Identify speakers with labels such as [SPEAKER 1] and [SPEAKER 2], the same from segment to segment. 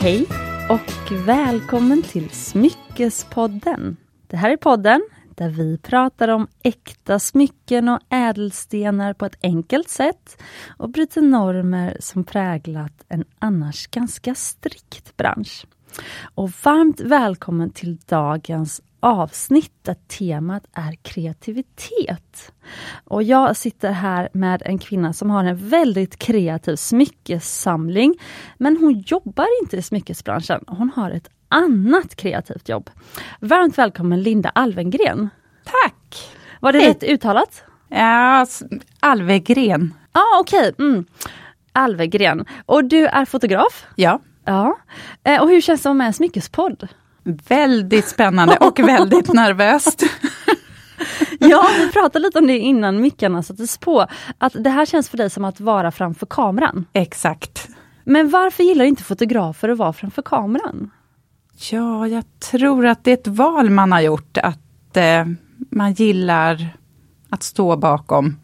[SPEAKER 1] Hej och välkommen till Smyckespodden. Det här är podden där vi pratar om äkta smycken och ädelstenar på ett enkelt sätt och bryter normer som präglat en annars ganska strikt bransch. Och varmt välkommen till dagens avsnitt där temat är kreativitet. Och jag sitter här med en kvinna som har en väldigt kreativ smyckessamling. Men hon jobbar inte i smyckesbranschen, hon har ett annat kreativt jobb. Varmt välkommen Linda Alvengren.
[SPEAKER 2] Tack!
[SPEAKER 1] Var det
[SPEAKER 2] Hej.
[SPEAKER 1] rätt uttalat?
[SPEAKER 2] Ja, s- Alvegren.
[SPEAKER 1] Ja, ah, okej. Mm. Alvegren. Och du är fotograf?
[SPEAKER 2] Ja.
[SPEAKER 1] Ja. Eh, Och hur känns det att vara med i en smyckespodd?
[SPEAKER 2] Väldigt spännande och väldigt nervöst.
[SPEAKER 1] Ja, vi pratade lite om det innan mickarna sattes på. Att det här känns för dig som att vara framför kameran.
[SPEAKER 2] Exakt.
[SPEAKER 1] Men varför gillar inte fotografer att vara framför kameran?
[SPEAKER 2] Ja, jag tror att det är ett val man har gjort, att eh, man gillar att stå bakom.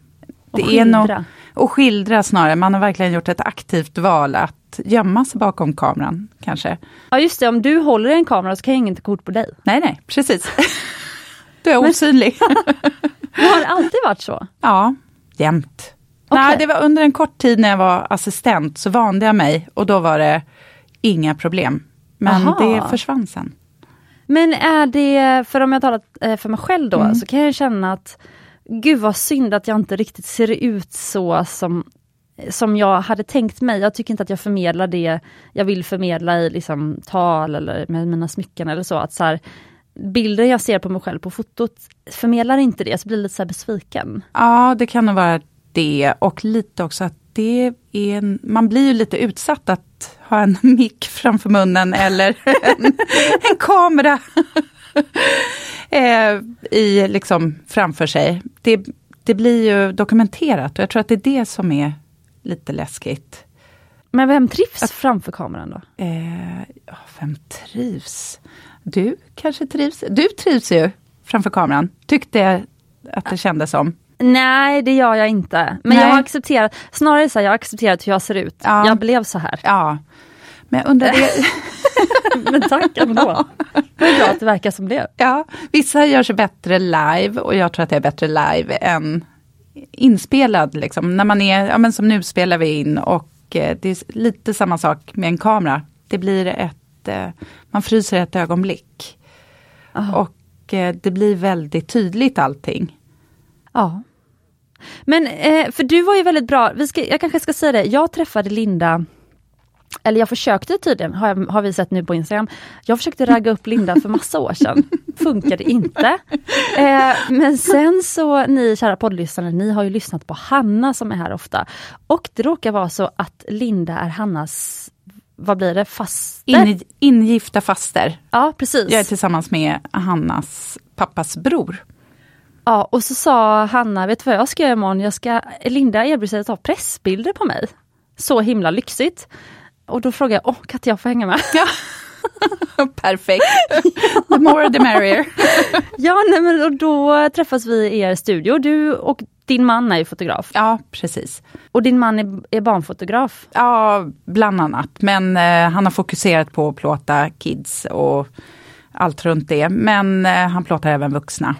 [SPEAKER 1] Och
[SPEAKER 2] Det är nog-
[SPEAKER 1] skildra.
[SPEAKER 2] och skildra snarare, man har verkligen gjort ett aktivt val att gömma sig bakom kameran, kanske.
[SPEAKER 1] Ja just det, om du håller i en kamera så kan jag inte kort på dig.
[SPEAKER 2] Nej, nej, precis. Du är osynlig.
[SPEAKER 1] Det har alltid varit så.
[SPEAKER 2] Ja, jämt.
[SPEAKER 1] Okej.
[SPEAKER 2] Nej, det var under en kort tid när jag var assistent så vande jag mig och då var det inga problem. Men
[SPEAKER 1] Aha.
[SPEAKER 2] det försvann sen.
[SPEAKER 1] Men är det, för om jag talar eh, för mig själv
[SPEAKER 2] Mm.
[SPEAKER 1] då, så kan jag känna att Gud vad synd att jag inte riktigt ser ut så som, som jag hade tänkt mig. Jag tycker inte att jag förmedlar det jag vill förmedla i liksom, tal eller med mina smycken eller så. Att så här, bilden jag ser på mig själv på fotot förmedlar inte det, så blir jag lite så här besviken.
[SPEAKER 2] Ja, det kan nog vara det och lite också att det är en, man blir ju lite utsatt att ha en mick framför munnen eller en, en kamera eh, i, liksom, framför sig. Det, det blir ju dokumenterat och jag tror att det är det som är lite läskigt.
[SPEAKER 1] Men vem trivs framför kameran då?
[SPEAKER 2] Eh, ja, vem trivs? Du kanske trivs? Du trivs ju framför kameran, tyckte jag att det kändes som.
[SPEAKER 1] Nej, det gör jag inte. Men jag
[SPEAKER 2] Nej.
[SPEAKER 1] har accepterat, snarare så här, jag har accepterat hur jag ser ut.
[SPEAKER 2] Ja.
[SPEAKER 1] Jag blev så här.
[SPEAKER 2] Ja, men jag undrar, det,
[SPEAKER 1] Men tack ändå. Det är bra att det verkar som det.
[SPEAKER 2] ja, vissa gör sig bättre live och jag tror att jag är bättre live än inspelad. Liksom. När man är, ja, men som nu spelar vi in och eh, det är lite samma sak med en kamera. Det blir ett, eh, man fryser ett ögonblick. Och eh, det blir väldigt tydligt allting.
[SPEAKER 1] Ja. Men eh, för du var ju väldigt bra, vi ska, jag kanske ska säga det, jag träffade Linda, eller jag försökte tydligen, har, jag, har vi sett nu på Instagram, jag försökte ragga upp Linda för massa år sedan, funkade inte. Eh, men sen så, ni kära poddlyssnare, ni har ju lyssnat på Hanna som är här ofta. Och det råkar vara så att Linda är Hannas, vad blir det, faster?
[SPEAKER 2] In, ingifta faster.
[SPEAKER 1] ja, precis.
[SPEAKER 2] Jag är tillsammans med Hannas pappas bror.
[SPEAKER 1] Ja, och så sa Hanna, vet du vad jag ska göra imorgon? Jag ska, Linda erbjöd sig att ta pressbilder på mig. Så himla lyxigt. Och då frågade jag, åh, kan inte jag få hänga med?
[SPEAKER 2] Perfekt. The more the merrier.
[SPEAKER 1] ja, nej, men och då träffas vi i er studio, du och din man är ju fotograf.
[SPEAKER 2] Ja, precis.
[SPEAKER 1] Och din man är, är barnfotograf.
[SPEAKER 2] Ja, bland annat. Men eh, han har fokuserat på att plåta kids och allt runt det. Men eh, han plåtar även vuxna.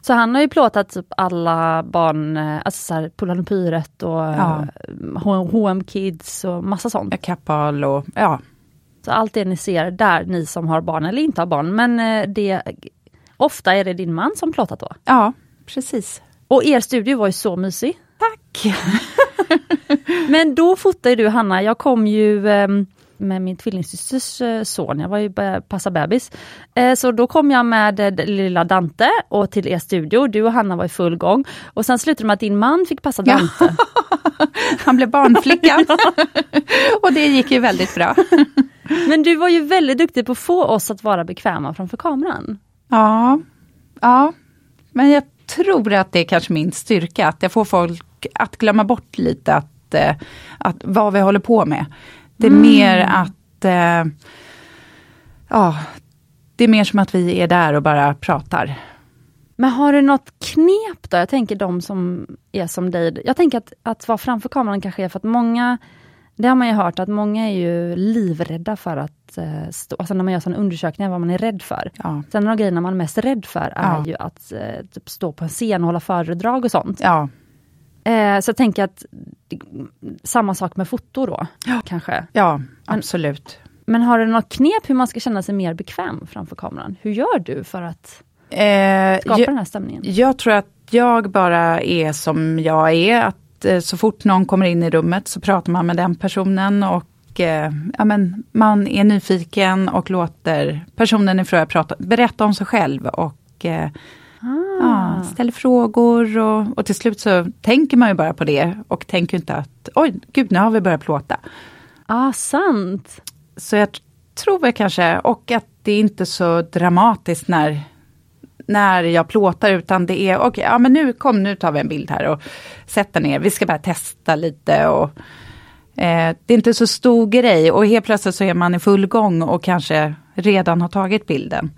[SPEAKER 1] Så han har ju plåtat typ alla barn, eh, alltså såhär Polarn och Pyret och
[SPEAKER 2] Ja.
[SPEAKER 1] eh, H&M Kids och massa sånt.
[SPEAKER 2] Kappahl och ja.
[SPEAKER 1] Så allt det ni ser där, ni som har barn eller inte har barn, men eh, det, ofta är det din man som plåtat då?
[SPEAKER 2] ja, precis.
[SPEAKER 1] Och er studio var ju så mysig.
[SPEAKER 2] Tack.
[SPEAKER 1] Men då fotade du Hanna, jag kom ju ehm, med min tvillingsysters eh, son, jag var ju be- passa bebis. Eh, Så då kom jag med eh, lilla Dante och till er studio, du och Hanna var i full gång. Och sen slutade det med att din man fick passa
[SPEAKER 2] Ja.
[SPEAKER 1] Dante.
[SPEAKER 2] Han blev barnflicka. och det gick ju väldigt bra.
[SPEAKER 1] Men du var ju väldigt duktig på att få oss att vara bekväma framför kameran.
[SPEAKER 2] Ja, ja. Men jag tror att det är kanske min styrka, att jag får folk att glömma bort lite att, eh, att vad vi håller på med. Det är mer att, eh, ja, det är mer som att vi är där och bara pratar.
[SPEAKER 1] Men har du något knep då? Jag tänker de som är som dig. Jag tänker att, att vara framför kameran kanske är för att många Det har man ju hört att många är ju livrädda för att eh, stå, alltså när man gör sådana undersökningar vad man är rädd för.
[SPEAKER 2] Ja.
[SPEAKER 1] Sen en av grejerna man är mest rädd för är
[SPEAKER 2] Ja.
[SPEAKER 1] ju att eh, typ stå på en scen och hålla föredrag och sånt.
[SPEAKER 2] ja.
[SPEAKER 1] Eh, så jag tänker att det- samma sak med foto då,
[SPEAKER 2] Ja.
[SPEAKER 1] kanske.
[SPEAKER 2] Ja, absolut.
[SPEAKER 1] Men har du något knep hur man ska känna sig mer bekväm framför kameran? Hur gör du för att
[SPEAKER 2] Eh,
[SPEAKER 1] skapa
[SPEAKER 2] ju-
[SPEAKER 1] den här stämningen?
[SPEAKER 2] Jag tror att jag bara är som jag är. Att eh, så fort någon kommer in i rummet så pratar man med den personen och eh, ja, men man är nyfiken och låter personen i fråga prata, berätta om sig själv och eh,
[SPEAKER 1] Ah.
[SPEAKER 2] ja, ställer frågor. Och, och till slut så tänker man ju bara på det och tänker inte att oj, gud, nu har vi börjat plåta.
[SPEAKER 1] Ah, sant!
[SPEAKER 2] Så jag t- tror väl kanske, och att det är inte så dramatiskt när, när jag plåtar, utan det är okej, ja men nu kom, nu tar vi en bild här och sätter ner, vi ska bara testa lite och eh, det är inte så stor grej och helt plötsligt så är man i full gång och kanske redan har tagit bilden.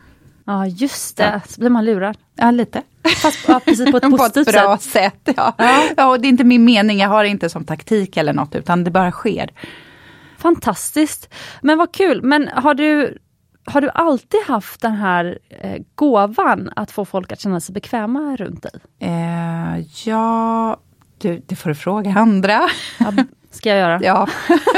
[SPEAKER 1] Ja, just det, så blir man lurad.
[SPEAKER 2] Ja, lite.
[SPEAKER 1] Fast ja, precis på ett positivt
[SPEAKER 2] på ett bra
[SPEAKER 1] sätt.
[SPEAKER 2] sätt. ja. Ja, och det är inte min mening, jag har det inte som taktik eller något, utan det bara sker.
[SPEAKER 1] Fantastiskt! Men vad kul, men har du, har du alltid haft den här eh, gåvan att få folk att känna sig bekväma runt dig?
[SPEAKER 2] Eh, ja, du, det får du fråga andra.
[SPEAKER 1] Ja, ska jag göra?
[SPEAKER 2] Ja,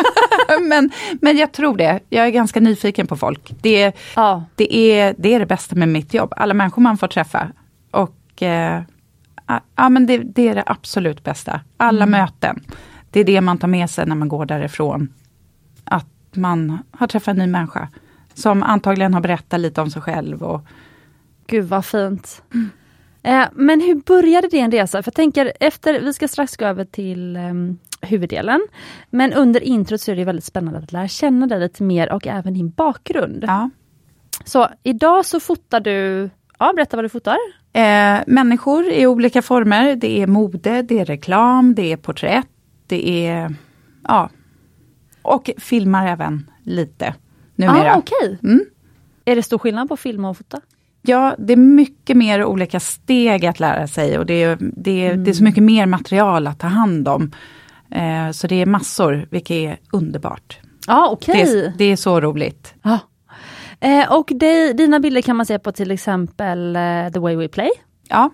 [SPEAKER 2] men, men jag tror det. Jag är ganska nyfiken på folk. Det,
[SPEAKER 1] Ja.
[SPEAKER 2] det, är, det är det bästa med mitt jobb, alla människor man får träffa. Och eh, ja, men det, det är det absolut bästa. Alla möten. Det är det man tar med sig när man går därifrån. Att man har träffat en ny människa. Som antagligen har berättat lite om sig själv. Och,
[SPEAKER 1] Gud vad fint.
[SPEAKER 2] Mm.
[SPEAKER 1] Eh, men hur började din resa? För jag tänker efter, vi ska strax gå över till ehm, huvuddelen. Men under introt så är det väldigt spännande att lära känna dig lite mer och även din bakgrund.
[SPEAKER 2] ja.
[SPEAKER 1] Så idag så fotar du, ja berätta vad du fotar.
[SPEAKER 2] Eh, människor i olika former. Det är mode, det är reklam, det är porträtt, det är... Ja. Och filmar även lite numera.
[SPEAKER 1] ah, okej.
[SPEAKER 2] Mm.
[SPEAKER 1] Är det stor skillnad på att filma och fota?
[SPEAKER 2] Ja, det är mycket mer olika steg att lära sig och det är, det är, det
[SPEAKER 1] Mm.
[SPEAKER 2] är så mycket mer material att ta hand om. Eh, så det är massor, vilket är underbart.
[SPEAKER 1] Ja, okej.
[SPEAKER 2] Det, är, det är så roligt.
[SPEAKER 1] Ja. Eh, och dig- dina bilder kan man se på till exempel eh, The Way We Play.
[SPEAKER 2] Ja,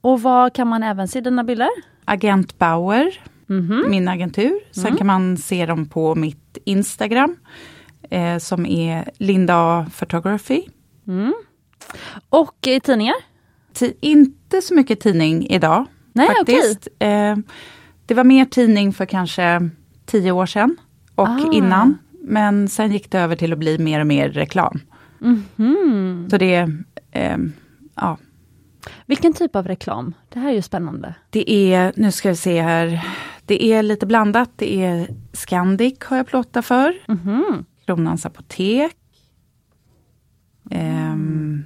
[SPEAKER 1] Och vad kan man även se i dina bilder?
[SPEAKER 2] Agent Bauer,
[SPEAKER 1] Mhm. Mm.
[SPEAKER 2] min agentur. Sen kan man se dem på mitt Instagram, eh, som är Linda A. Photography.
[SPEAKER 1] Och i tidningar?
[SPEAKER 2] Ti- inte så mycket tidning idag,
[SPEAKER 1] Nej,
[SPEAKER 2] faktiskt. Eh, det var mer tidning för kanske tio år sedan och
[SPEAKER 1] Ah.
[SPEAKER 2] innan. Men sen gick det över till att bli mer och mer reklam.
[SPEAKER 1] Mhm.
[SPEAKER 2] Så det, ehm, ja,
[SPEAKER 1] Vilken typ av reklam? Det här är ju spännande.
[SPEAKER 2] det är, nu ska vi se här, det är lite blandat. Det är Scandic har jag plåtat för.
[SPEAKER 1] Mhm.
[SPEAKER 2] Kronans apotek. Ehm,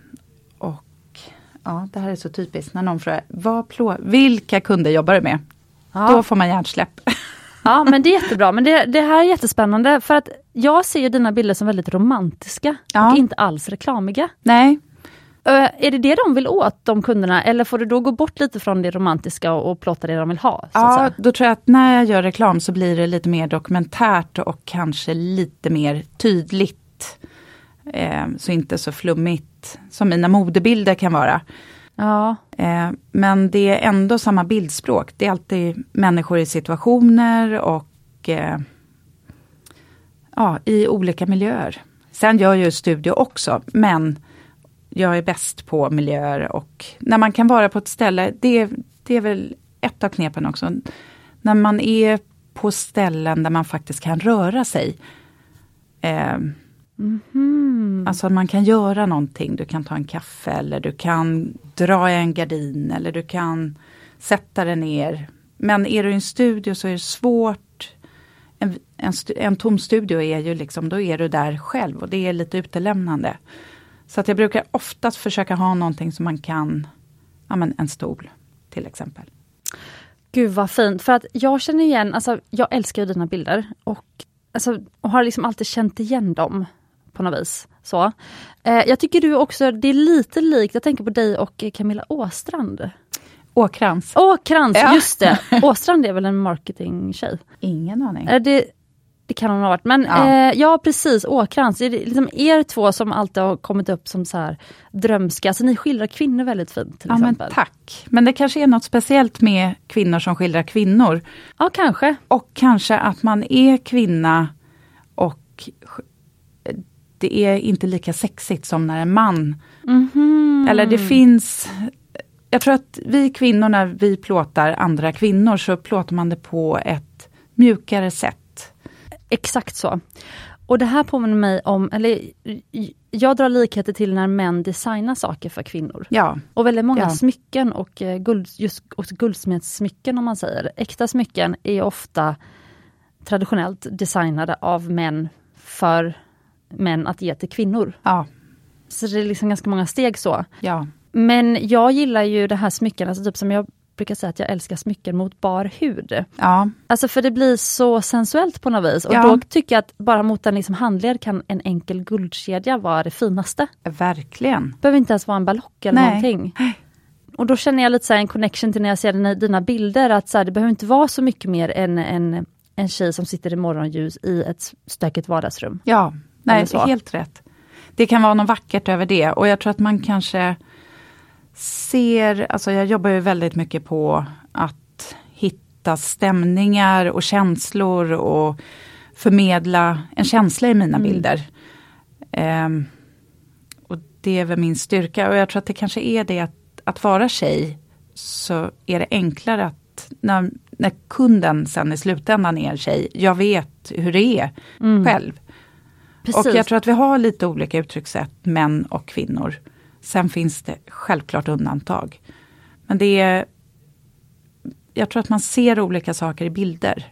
[SPEAKER 2] och ja, det här är så typiskt när någon frågar, vad plå, vilka kunder jobbar du med? Då
[SPEAKER 1] Ja.
[SPEAKER 2] får man hjärnsläpp.
[SPEAKER 1] ja, men det är jättebra. Men det, det här är jättespännande för att jag ser ju dina bilder som väldigt romantiska
[SPEAKER 2] Ja.
[SPEAKER 1] och inte alls reklamiga.
[SPEAKER 2] Nej,
[SPEAKER 1] Ö, är det det de vill åt, de kunderna? Eller får du då gå bort lite från det romantiska och, och plåta det de vill ha? Så att
[SPEAKER 2] ja,
[SPEAKER 1] säga?
[SPEAKER 2] då tror jag att när jag gör reklam så blir det lite mer dokumentärt och kanske lite mer tydligt. Ehm, så inte så flummigt som mina modebilder kan vara.
[SPEAKER 1] ja.
[SPEAKER 2] Eh, Men det är ändå samma bildspråk. Det är alltid människor i situationer och eh, ja, i olika miljöer. Sen gör jag ju studio också, men jag är bäst på miljöer och när man kan vara på ett ställe, det, är- det är väl ett av knepen också. När man är på ställen där man faktiskt kan röra sig. Eh,
[SPEAKER 1] Mhm.
[SPEAKER 2] Alltså att man kan göra någonting, du kan ta en kaffe eller du kan dra i en gardin eller du kan sätta dig ner. Men är du i en studio så är det svårt. En, en, stu- en tom studio är ju liksom, då är du där själv och det är lite utelämnande. Så att jag brukar oftast försöka ha någonting som man kan, ja men en stol till exempel.
[SPEAKER 1] Gud vad fint, för att jag känner igen, alltså jag älskar ju dina bilder och, alltså, och har liksom alltid känt igen dem på något vis. Så. Eh, jag tycker du också, det är lite likt, jag tänker på dig och eh, Camilla Åstrand.
[SPEAKER 2] Åkrans?
[SPEAKER 1] Åh, Krantz,
[SPEAKER 2] Ja.
[SPEAKER 1] just det! Åstrand är väl en marketingtjej?
[SPEAKER 2] Ingen aning.
[SPEAKER 1] Är det, Det kan hon ha varit. Men ja,
[SPEAKER 2] Ja.
[SPEAKER 1] eh, ja precis, Åkrans. Är det liksom er två som alltid har kommit upp som så här drömska. Alltså ni skildrar kvinnor väldigt fint till
[SPEAKER 2] Ja men
[SPEAKER 1] exempel.
[SPEAKER 2] tack. Men det kanske är något speciellt med kvinnor som skildrar kvinnor.
[SPEAKER 1] ja kanske.
[SPEAKER 2] Och kanske att man är kvinna och sk- det är inte lika sexigt som när en man
[SPEAKER 1] Mhm.
[SPEAKER 2] Eller det finns, jag tror att vi kvinnor när vi plåtar andra kvinnor så plåtar man det på ett mjukare sätt.
[SPEAKER 1] Exakt så. Och det här påminner mig om, eller j- jag drar likheter till när män designar saker för kvinnor.
[SPEAKER 2] Ja,
[SPEAKER 1] Och väldigt många
[SPEAKER 2] Ja.
[SPEAKER 1] smycken och eh, guld, just och guldsmedssmycken om man säger. Äkta smycken är ofta traditionellt designade av män för män att ge till kvinnor.
[SPEAKER 2] ja,
[SPEAKER 1] Så det är liksom ganska många steg så.
[SPEAKER 2] ja.
[SPEAKER 1] Men jag gillar ju det här smycken, alltså typ som jag brukar säga att jag älskar smycken mot bar hud.
[SPEAKER 2] ja.
[SPEAKER 1] Alltså för det blir så sensuellt på något vis. Och
[SPEAKER 2] Ja.
[SPEAKER 1] då tycker jag att bara mot en liksom handled kan en enkel guldkedja vara det finaste.
[SPEAKER 2] Verkligen.
[SPEAKER 1] behöver inte ens vara en ballock eller
[SPEAKER 2] Nej.
[SPEAKER 1] någonting. Och då känner jag lite så här en connection till när jag ser dina- dina bilder, att så här, det behöver inte vara så mycket mer än en, en tjej som sitter i morgonljus i ett stökigt vardagsrum.
[SPEAKER 2] Ja, nej,
[SPEAKER 1] Eller så.
[SPEAKER 2] helt rätt. Det kan vara något vackert över det och jag tror att man kanske ser, alltså jag jobbar ju väldigt mycket på att hitta stämningar och känslor och förmedla en känsla i
[SPEAKER 1] Mm.
[SPEAKER 2] mina bilder. Ehm, och det är väl min styrka och jag tror att det kanske är det att, att vara tjej så är det enklare att när, när kunden sen i slutändan är en tjej, jag vet hur det är
[SPEAKER 1] Mm.
[SPEAKER 2] själv.
[SPEAKER 1] Precis.
[SPEAKER 2] Och jag tror att vi har lite olika uttryckssätt, män och kvinnor. Sen finns det självklart undantag. Men det är... Jag tror att man ser olika saker i bilder.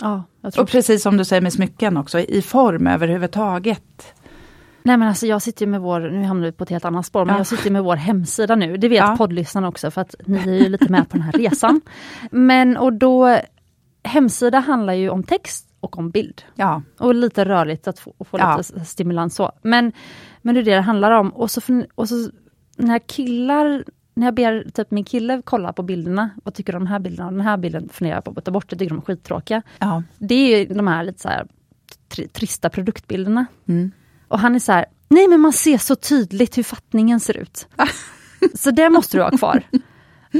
[SPEAKER 1] ja, jag tror
[SPEAKER 2] Och precis som du säger med smycken också, i form överhuvudtaget.
[SPEAKER 1] Nej men alltså jag sitter ju med vår, nu hamnar vi på ett helt annat spår, men
[SPEAKER 2] Ja.
[SPEAKER 1] jag sitter ju med vår hemsida nu. Det vet
[SPEAKER 2] Ja.
[SPEAKER 1] poddlyssnarna också för att ni är ju lite med på den här resan. Men och då, hemsida handlar ju om text och om bild.
[SPEAKER 2] Ja,
[SPEAKER 1] Och lite rörligt att få, få
[SPEAKER 2] Ja.
[SPEAKER 1] lite s- stimulans så. Men, men det är det det handlar om. Och så, för, och så när killar, när jag ber typ min kille kolla på bilderna, vad tycker du om den här bilden och den här bilden, funderar jag på att ta bort, det tycker de är skittråkiga.
[SPEAKER 2] ja.
[SPEAKER 1] Det är ju de här lite så här tri, trista produktbilderna.
[SPEAKER 2] Mm.
[SPEAKER 1] Och han är så här, nej men man ser så tydligt hur fattningen ser ut. så det måste du ha kvar.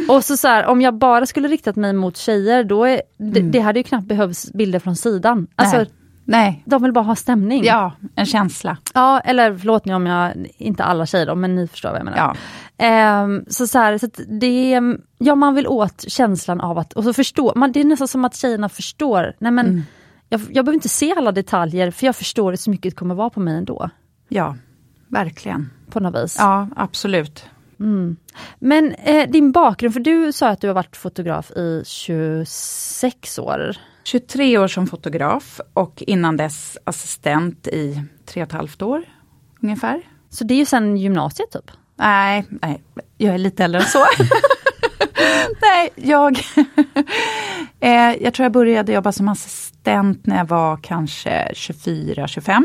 [SPEAKER 1] Och så, så här, om jag bara skulle riktat mig mot tjejer, då är, det, det hade ju knappt behövts bilder från sidan. Alltså,
[SPEAKER 2] Mm. Nej. Nej.
[SPEAKER 1] de vill bara ha stämning.
[SPEAKER 2] Ja, en känsla.
[SPEAKER 1] Ja, eller förlåt nu om jag, inte alla tjejer då, men ni förstår vad jag menar.
[SPEAKER 2] Ja,
[SPEAKER 1] Ehm, så så, här, så att det är, ja man vill åt känslan av att, och så förstå, man, det är nästan som att tjejerna förstår, nej men
[SPEAKER 2] Mm.
[SPEAKER 1] jag, jag behöver inte se alla detaljer för jag förstår hur mycket det kommer vara på mig ändå.
[SPEAKER 2] ja. Verkligen.
[SPEAKER 1] På något vis.
[SPEAKER 2] Ja, absolut.
[SPEAKER 1] Men eh, din bakgrund, för du sa att du har varit fotograf i 26 år.
[SPEAKER 2] 23 år som fotograf och innan dess assistent i tre och ett halvt år ungefär.
[SPEAKER 1] Så det är ju sen gymnasiet typ?
[SPEAKER 2] Nej, nej, jag är lite äldre än så. nej, jag... eh, jag tror jag började jobba som assistent när jag var kanske 24-25.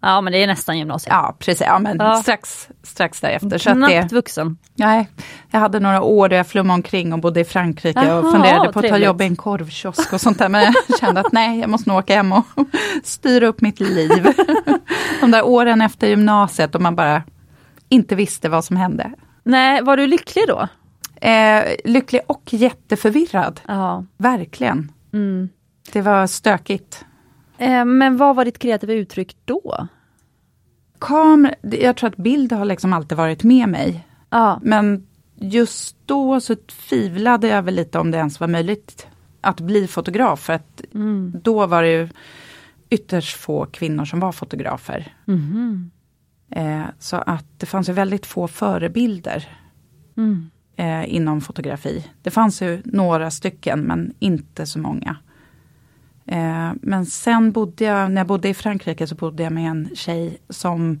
[SPEAKER 1] Ja men det är nästan gymnasiet.
[SPEAKER 2] Ja, precis. Ja, men
[SPEAKER 1] Ja.
[SPEAKER 2] Strax, strax därefter. Så att det,
[SPEAKER 1] Knappt vuxen.
[SPEAKER 2] nej, jag hade några år där jag flummade omkring och bodde i Frankrike
[SPEAKER 1] Jaha,
[SPEAKER 2] och funderade på att ta
[SPEAKER 1] trevligt.
[SPEAKER 2] jobb i en korvkiosk och sånt där. Men jag kände att nej, jag måste nog åka hem och styra upp mitt liv. De där åren efter gymnasiet och man bara inte visste vad som hände.
[SPEAKER 1] Nej, var du lycklig då?
[SPEAKER 2] Eh, lycklig och jätteförvirrad,
[SPEAKER 1] Ja.
[SPEAKER 2] verkligen.
[SPEAKER 1] Mm.
[SPEAKER 2] Det var stökigt.
[SPEAKER 1] Eh, Men vad var ditt kreativa uttryck då?
[SPEAKER 2] Kamer, jag tror att bild har liksom alltid varit med mig.
[SPEAKER 1] Ja,
[SPEAKER 2] Men just då så tvivlade jag väl lite om det ens var möjligt att bli fotograf. För att
[SPEAKER 1] Mm.
[SPEAKER 2] då var det ju ytterst få kvinnor som var fotografer.
[SPEAKER 1] Mhm.
[SPEAKER 2] Eh, så att det fanns ju väldigt få förebilder
[SPEAKER 1] Mm.
[SPEAKER 2] eh, inom fotografi. Det fanns ju några stycken men inte så många. Eh, men sen bodde jag, när jag bodde i Frankrike så bodde jag med en tjej som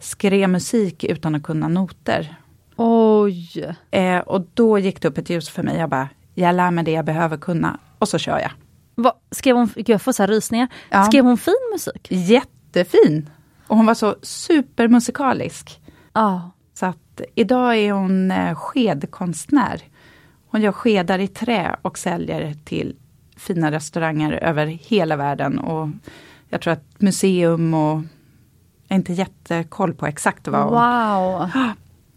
[SPEAKER 2] skrev musik utan att kunna noter.
[SPEAKER 1] oj.
[SPEAKER 2] Eh, och då gick det upp ett ljus för mig. Jag bara, jag lär mig det jag behöver kunna och så kör jag.
[SPEAKER 1] Va, skrev hon, gud jag får så här rysningar.
[SPEAKER 2] Ja.
[SPEAKER 1] Skrev hon fin musik?
[SPEAKER 2] Jättefin! Och hon var så supermusikalisk.
[SPEAKER 1] Ja.
[SPEAKER 2] Så att idag är hon eh, skedkonstnär. Hon gör skedar i trä och säljer till fina restauranger över hela världen och jag tror att museum och, jag har inte jättekoll på exakt vad.
[SPEAKER 1] Wow!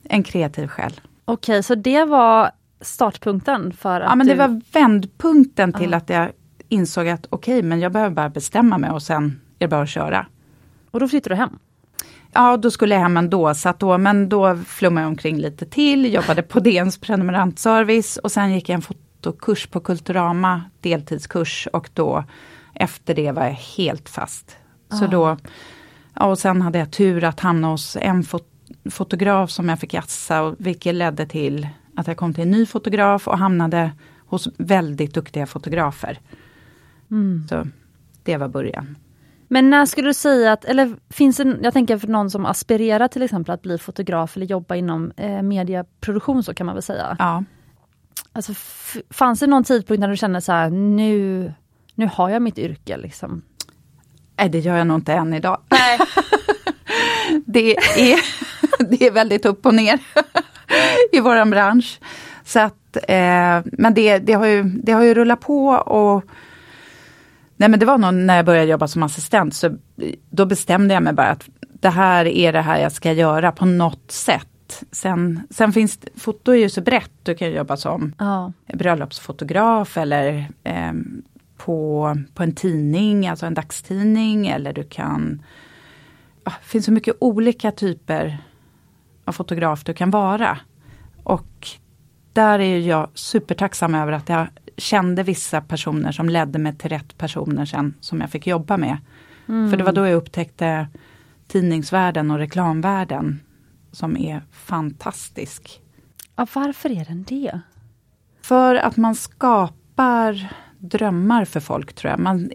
[SPEAKER 2] En kreativ själ.
[SPEAKER 1] Okej, så det var startpunkten för att
[SPEAKER 2] Ja men det
[SPEAKER 1] du...
[SPEAKER 2] var vändpunkten till att jag insåg att okej, men jag behöver bara bestämma mig och sen är det bara att köra.
[SPEAKER 1] Och då flyttade du hem?
[SPEAKER 2] Ja, då skulle jag hem ändå, så att då, men då flummade jag omkring lite till, jobbade på DNs prenumerantservice och sen gick jag en fotokurs på Kulturama, deltidskurs och då efter det var jag helt fast. Så då, ja, och sen hade jag tur att hamna hos en fot fotograf som jag fick jassa, och- vilket ledde till att jag kom till en ny fotograf och hamnade hos väldigt duktiga fotografer. Så det var början.
[SPEAKER 1] Men när skulle du säga att, eller finns det, jag tänker för någon som aspirerar till exempel att bli fotograf eller jobba inom eh, medieproduktion så kan man väl säga.
[SPEAKER 2] Ja.
[SPEAKER 1] Alltså, f- fanns det någon tidpunkt när du kände så här, nu, nu har jag mitt yrke liksom?
[SPEAKER 2] Nej, det gör jag nog inte än idag. det, är, det är väldigt upp och ner i vår bransch. Så att, eh, men det, det, har ju, det har ju rullat på och Nej men det var nog när jag började jobba som assistent, så då bestämde jag mig bara att det här är det här jag ska göra på något sätt. Sen, sen finns det- foto är ju så brett, du kan ju jobba som
[SPEAKER 1] Ja.
[SPEAKER 2] bröllopsfotograf eller eh, på, på en tidning, alltså en dagstidning eller du kan... Ja, det finns så mycket olika typer av fotograf du kan vara. Och där är ju jag supertacksam över att jag kände vissa personer som ledde mig till rätt personer sen som jag fick jobba med. För det var då jag upptäckte tidningsvärlden och reklamvärlden som är fantastisk.
[SPEAKER 1] ja, varför är den det?
[SPEAKER 2] För att man skapar drömmar för folk tror jag. Man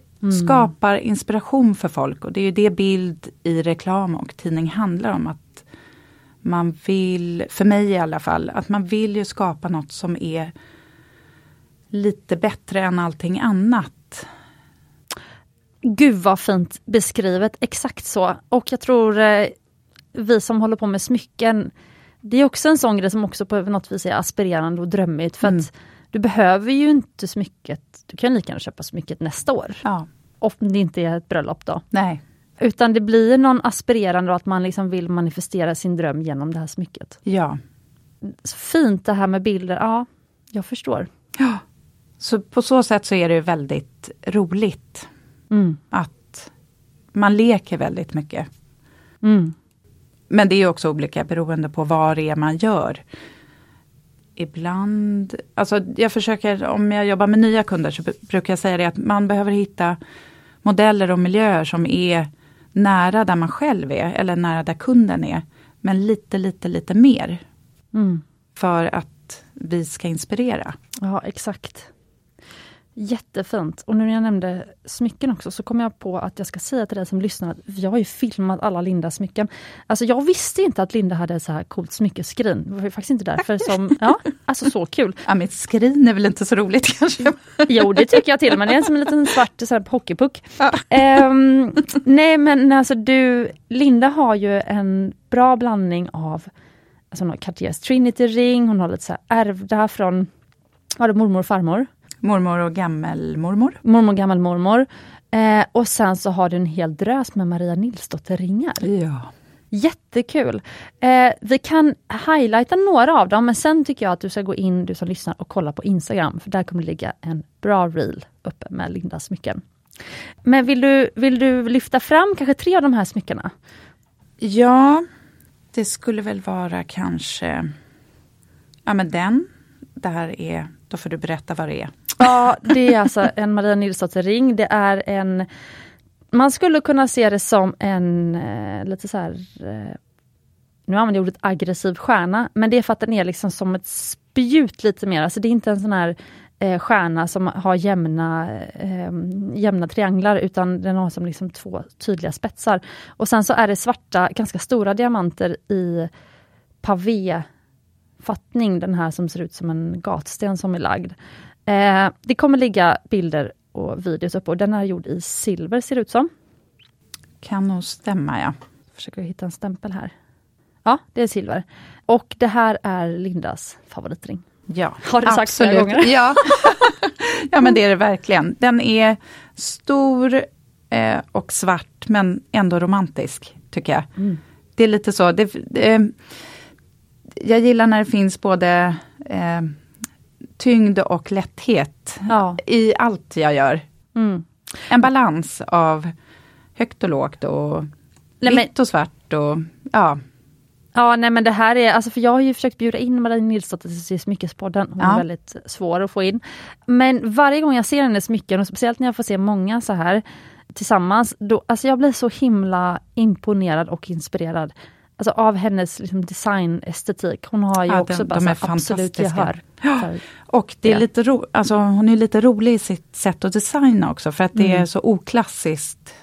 [SPEAKER 2] skapar inspiration för folk och det är ju det bild i reklam och tidning handlar om. att Man vill, för mig i alla fall, att man vill ju skapa något som är lite bättre än allting annat.
[SPEAKER 1] Gud vad fint beskrivet, exakt så. Och jag tror eh, vi som håller på med smycken, det är också en sån grej som också på något vis är aspirerande och drömmigt. För att du behöver ju inte smycket, du kan lika gärna köpa smycket nästa år.
[SPEAKER 2] Ja,
[SPEAKER 1] Om det inte är ett bröllop då.
[SPEAKER 2] nej.
[SPEAKER 1] Utan det blir någon aspirerande och att man liksom vill manifestera sin dröm genom det här smycket.
[SPEAKER 2] Ja.
[SPEAKER 1] Så fint det här med bilder, ja, jag förstår.
[SPEAKER 2] ja. Så på så sätt så är det ju väldigt roligt
[SPEAKER 1] Mm.
[SPEAKER 2] att man leker väldigt mycket.
[SPEAKER 1] Mm.
[SPEAKER 2] Men det är också olika beroende på vad det är man gör. Ibland, alltså jag försöker, om jag jobbar med nya kunder så br- brukar jag säga det att man behöver hitta modeller och miljöer som är nära där man själv är eller nära där kunden är. Men lite, lite, lite mer
[SPEAKER 1] Mm.
[SPEAKER 2] för att vi ska inspirera.
[SPEAKER 1] Ja, exakt. Jättefint. Och nu när jag nämnde smycken också så kom jag på att jag ska säga till dig som lyssnar att jag har ju filmat alla Lindas smycken. Alltså jag visste inte att Linda hade så här coolt smyckeskrin. Det var ju faktiskt inte därför som... Ja, alltså så kul.
[SPEAKER 2] Ja, mitt skrin är väl inte så roligt kanske.
[SPEAKER 1] Jo, det tycker jag till, men det är som en liten svart så här, hockeypuck. Ehm, nej, men alltså du, Linda har ju en bra blandning av, alltså hon har Cartiers Trinity-ring, hon har lite så här ärvda från, var det mormor och farmor?
[SPEAKER 2] Mormor och gammelmormor.
[SPEAKER 1] Mormor och gammelmormor. Eh, och sen så har du en hel drös med Maria Nilsdotter-ringar.
[SPEAKER 2] Ja.
[SPEAKER 1] Jättekul! Eh, vi kan highlighta några av dem, men sen tycker jag att du ska gå in, du som lyssnar, och kolla på Instagram, för där kommer det ligga en bra reel uppe med Lindas smycken. Men vill du, vill du lyfta fram kanske tre av de här smyckena?
[SPEAKER 2] Ja, det skulle väl vara kanske... Ja, men den. Det här är... Då får du berätta vad det är.
[SPEAKER 1] Ja, det är alltså en Maria Nilsdotter-ring. Det är en... Man skulle kunna se det som en eh, lite så här... Eh, nu använder jag ordet aggressiv stjärna, men det är för att den är liksom som ett spjut lite mer. Alltså det är inte en sån här eh, stjärna som har jämna, eh, jämna trianglar, utan den har som liksom två tydliga spetsar. Och sen så är det svarta, ganska stora diamanter i pavéfattning, den här som ser ut som en gatsten som är lagd. Eh, det kommer ligga bilder och videos uppe och den är gjord i silver ser det ut som.
[SPEAKER 2] Kan nog stämma, ja.
[SPEAKER 1] Försöker hitta en stämpel här. Ja, det är silver. Och det här är Lindas favoritring.
[SPEAKER 2] ja
[SPEAKER 1] Har du sagt flera
[SPEAKER 2] absolut.
[SPEAKER 1] gånger?
[SPEAKER 2] Ja. ja, men det är det verkligen. Den är stor, eh, och svart men ändå romantisk, tycker jag.
[SPEAKER 1] Mm.
[SPEAKER 2] Det är lite så, det, eh, jag gillar när det finns både eh, tyngd och lätthet
[SPEAKER 1] Ja.
[SPEAKER 2] i allt jag gör.
[SPEAKER 1] Mm.
[SPEAKER 2] En balans av högt och lågt och
[SPEAKER 1] Nej, men-
[SPEAKER 2] vitt och svart och ja.
[SPEAKER 1] Ja, nej men det här är, alltså för jag har ju försökt bjuda in Marie Nilsdotter till Smyckespodden, hon är
[SPEAKER 2] Ja.
[SPEAKER 1] väldigt svår att få in. Men varje gång jag ser hennes smycken, och speciellt när jag får se många så här tillsammans, då, alltså jag blir så himla imponerad och inspirerad. Alltså av hennes liksom, designestetik, hon har ju
[SPEAKER 2] Ja,
[SPEAKER 1] också
[SPEAKER 2] de-
[SPEAKER 1] bara
[SPEAKER 2] de är
[SPEAKER 1] så här absolut
[SPEAKER 2] fantastiska.
[SPEAKER 1] gehör. för-
[SPEAKER 2] Och det är
[SPEAKER 1] Ja.
[SPEAKER 2] lite ro, alltså hon är lite rolig i sitt sätt att designa också för att det
[SPEAKER 1] Mm.
[SPEAKER 2] är så oklassiskt.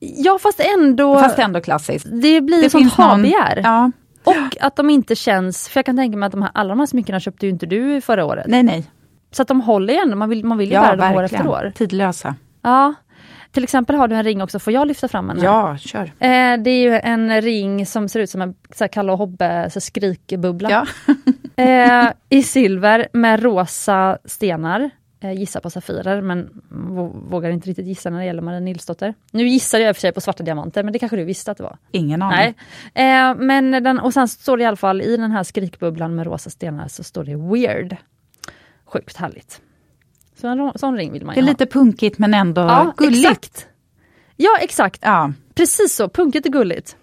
[SPEAKER 1] Ja fast ändå,
[SPEAKER 2] Fast ändå klassiskt.
[SPEAKER 1] det blir ett sånt
[SPEAKER 2] någon-
[SPEAKER 1] ha-begär.
[SPEAKER 2] Ja,
[SPEAKER 1] Och att de inte känns, för jag kan tänka mig att de här, alla de här smyckena köpte ju inte du förra året.
[SPEAKER 2] nej nej.
[SPEAKER 1] Så att de håller ju ändå, man vill, man vill ju
[SPEAKER 2] Ja,
[SPEAKER 1] bära dem år
[SPEAKER 2] verkligen.
[SPEAKER 1] efter år.
[SPEAKER 2] Tidlösa.
[SPEAKER 1] Ja. Till exempel har du en ring också, får jag lyfta fram en? här?
[SPEAKER 2] Ja, kör.
[SPEAKER 1] Eh, det är ju en ring som ser ut som en så här, Kalle och Hobbe så här skrikbubbla.
[SPEAKER 2] Ja.
[SPEAKER 1] Eh, I silver med rosa stenar. Eh, gissa på Safirer men vå- vågar inte riktigt gissa när det gäller Marie Nilsdotter. Nu gissade jag i och för sig på svarta diamanter men det kanske du visste att det var?
[SPEAKER 2] Ingen aning.
[SPEAKER 1] Nej. Eh, men den, och sen står det i alla fall i den här skrikbubblan med rosa stenar så står det weird. Sjukt härligt. Så en ro- sån ring vill man
[SPEAKER 2] Det
[SPEAKER 1] ju
[SPEAKER 2] är
[SPEAKER 1] ha.
[SPEAKER 2] lite punkigt men ändå gulligt.
[SPEAKER 1] Exakt. Ja, exakt.
[SPEAKER 2] Ja,
[SPEAKER 1] Precis så, punkigt och gulligt.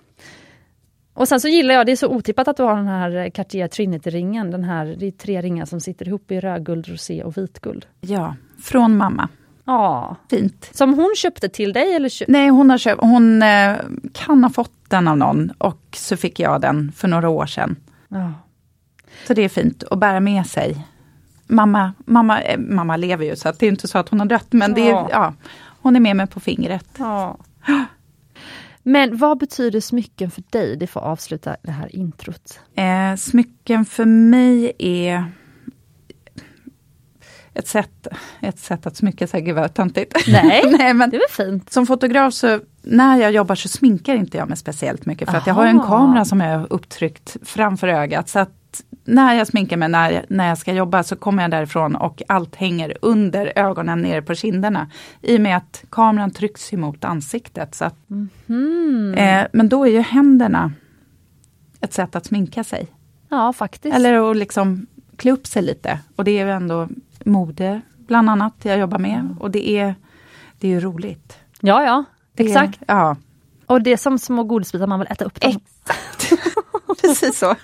[SPEAKER 1] Och sen så gillar jag, det är så otippat att du har den här eh, Cartier Trinity-ringen. Den här, det är tre ringar som sitter ihop i rödguld, rosé och vitguld.
[SPEAKER 2] ja, från mamma.
[SPEAKER 1] Ja.
[SPEAKER 2] Fint.
[SPEAKER 1] Som hon köpte till dig eller? Kö-
[SPEAKER 2] Nej, hon, har köpt, hon eh, kan ha fått den av någon och så fick jag den för några år sedan.
[SPEAKER 1] ja.
[SPEAKER 2] Så det är fint att bära med sig. Mamma, mamma, eh, mamma lever ju så att det är inte så att hon har dött men det
[SPEAKER 1] Ja.
[SPEAKER 2] är, ja, hon är med mig på fingret.
[SPEAKER 1] ja. Men vad betyder smycken för dig? Det får avsluta det här introt.
[SPEAKER 2] Eh, smycken för mig är ett sätt, ett sätt att smycka sig, gud vad töntigt.
[SPEAKER 1] Nej.
[SPEAKER 2] Nej men
[SPEAKER 1] Det är väl fint?
[SPEAKER 2] Som fotograf så, när jag jobbar så sminkar inte jag mig speciellt mycket för att jag har en
[SPEAKER 1] Aha.
[SPEAKER 2] kamera som jag har upptryckt framför ögat. Så att när jag sminkar mig, när, jag- när jag ska jobba så kommer jag därifrån och allt hänger under ögonen, nere på kinderna. I och med att kameran trycks emot ansiktet. Så att, eh, men då är ju händerna ett sätt att sminka sig.
[SPEAKER 1] Ja, faktiskt.
[SPEAKER 2] Eller att liksom klä upp sig lite. Och det är ju ändå mode bland annat jag jobbar med. Och det är, det är ju roligt.
[SPEAKER 1] Ja, ja.
[SPEAKER 2] Det-
[SPEAKER 1] Exakt.
[SPEAKER 2] Ja.
[SPEAKER 1] Och det är som små godisbitar, man vill äta upp dem.
[SPEAKER 2] Exakt. Precis så.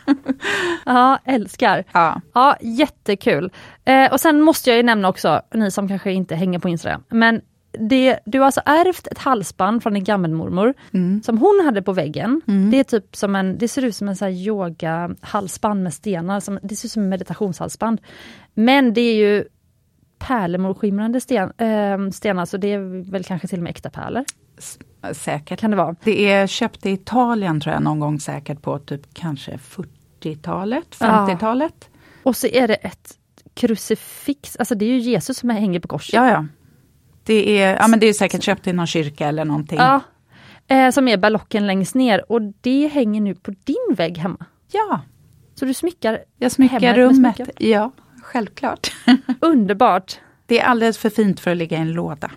[SPEAKER 1] Ja, älskar.
[SPEAKER 2] Ja.
[SPEAKER 1] Ja, jättekul. Eh, och sen måste jag ju nämna också, ni som kanske inte hänger på Instagram, men det, du har alltså ärvt ett halsband från din gammelmormor, som hon hade på väggen. Det är typ som en, det ser ut som en så här yoga-halsband med stenar, som, det ser ut som en meditationshalsband. Men det är ju pärlemorskimrande sten, eh, stenar, så det är väl kanske till och med äkta pärlor.
[SPEAKER 2] S- Säkert.
[SPEAKER 1] Kan det vara?
[SPEAKER 2] Det är köpt i Italien tror jag någon gång säkert på typ kanske 40-talet,
[SPEAKER 1] Ja.
[SPEAKER 2] 50-talet.
[SPEAKER 1] Och så är det ett krucifix, alltså det är ju Jesus som hänger på korset.
[SPEAKER 2] Ja, ja. Det är, ja men det är säkert köpt i någon kyrka eller någonting.
[SPEAKER 1] Ja. Eh, som är ballocken längst ner och det hänger nu på din vägg hemma.
[SPEAKER 2] Ja,
[SPEAKER 1] Så du smyckar
[SPEAKER 2] jag smyckar
[SPEAKER 1] Hemmet med
[SPEAKER 2] rummet.
[SPEAKER 1] smycken.
[SPEAKER 2] Ja, självklart.
[SPEAKER 1] underbart.
[SPEAKER 2] det är alldeles för fint för att ligga i en låda.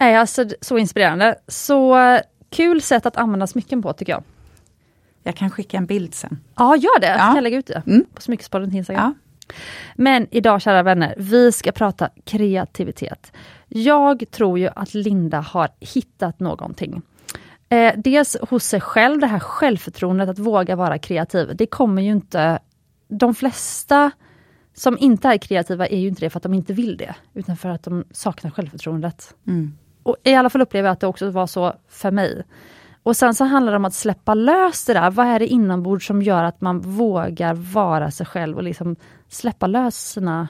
[SPEAKER 1] Nej, alltså, d- så inspirerande. Så eh, kul sätt att använda smycken på tycker jag.
[SPEAKER 2] Jag kan skicka en bild sen.
[SPEAKER 1] Ja, gör det.
[SPEAKER 2] Ja.
[SPEAKER 1] Kan jag lägga ut det
[SPEAKER 2] Mm.
[SPEAKER 1] på smyckespodden till Instagram.
[SPEAKER 2] Ja.
[SPEAKER 1] Men idag kära vänner, vi ska prata kreativitet. Jag tror ju att Linda har hittat någonting. Eh, dels hos sig själv, det här självförtroendet att våga vara kreativ. Det kommer ju inte... De flesta som inte är kreativa är ju inte det för att de inte vill det, utan för att de saknar självförtroendet.
[SPEAKER 2] Mm.
[SPEAKER 1] Och I alla fall upplever jag att det också var så för mig. Och sen så handlar det om att släppa lös det där. Vad är det inombords som gör att man vågar vara sig själv och liksom släppa lös sina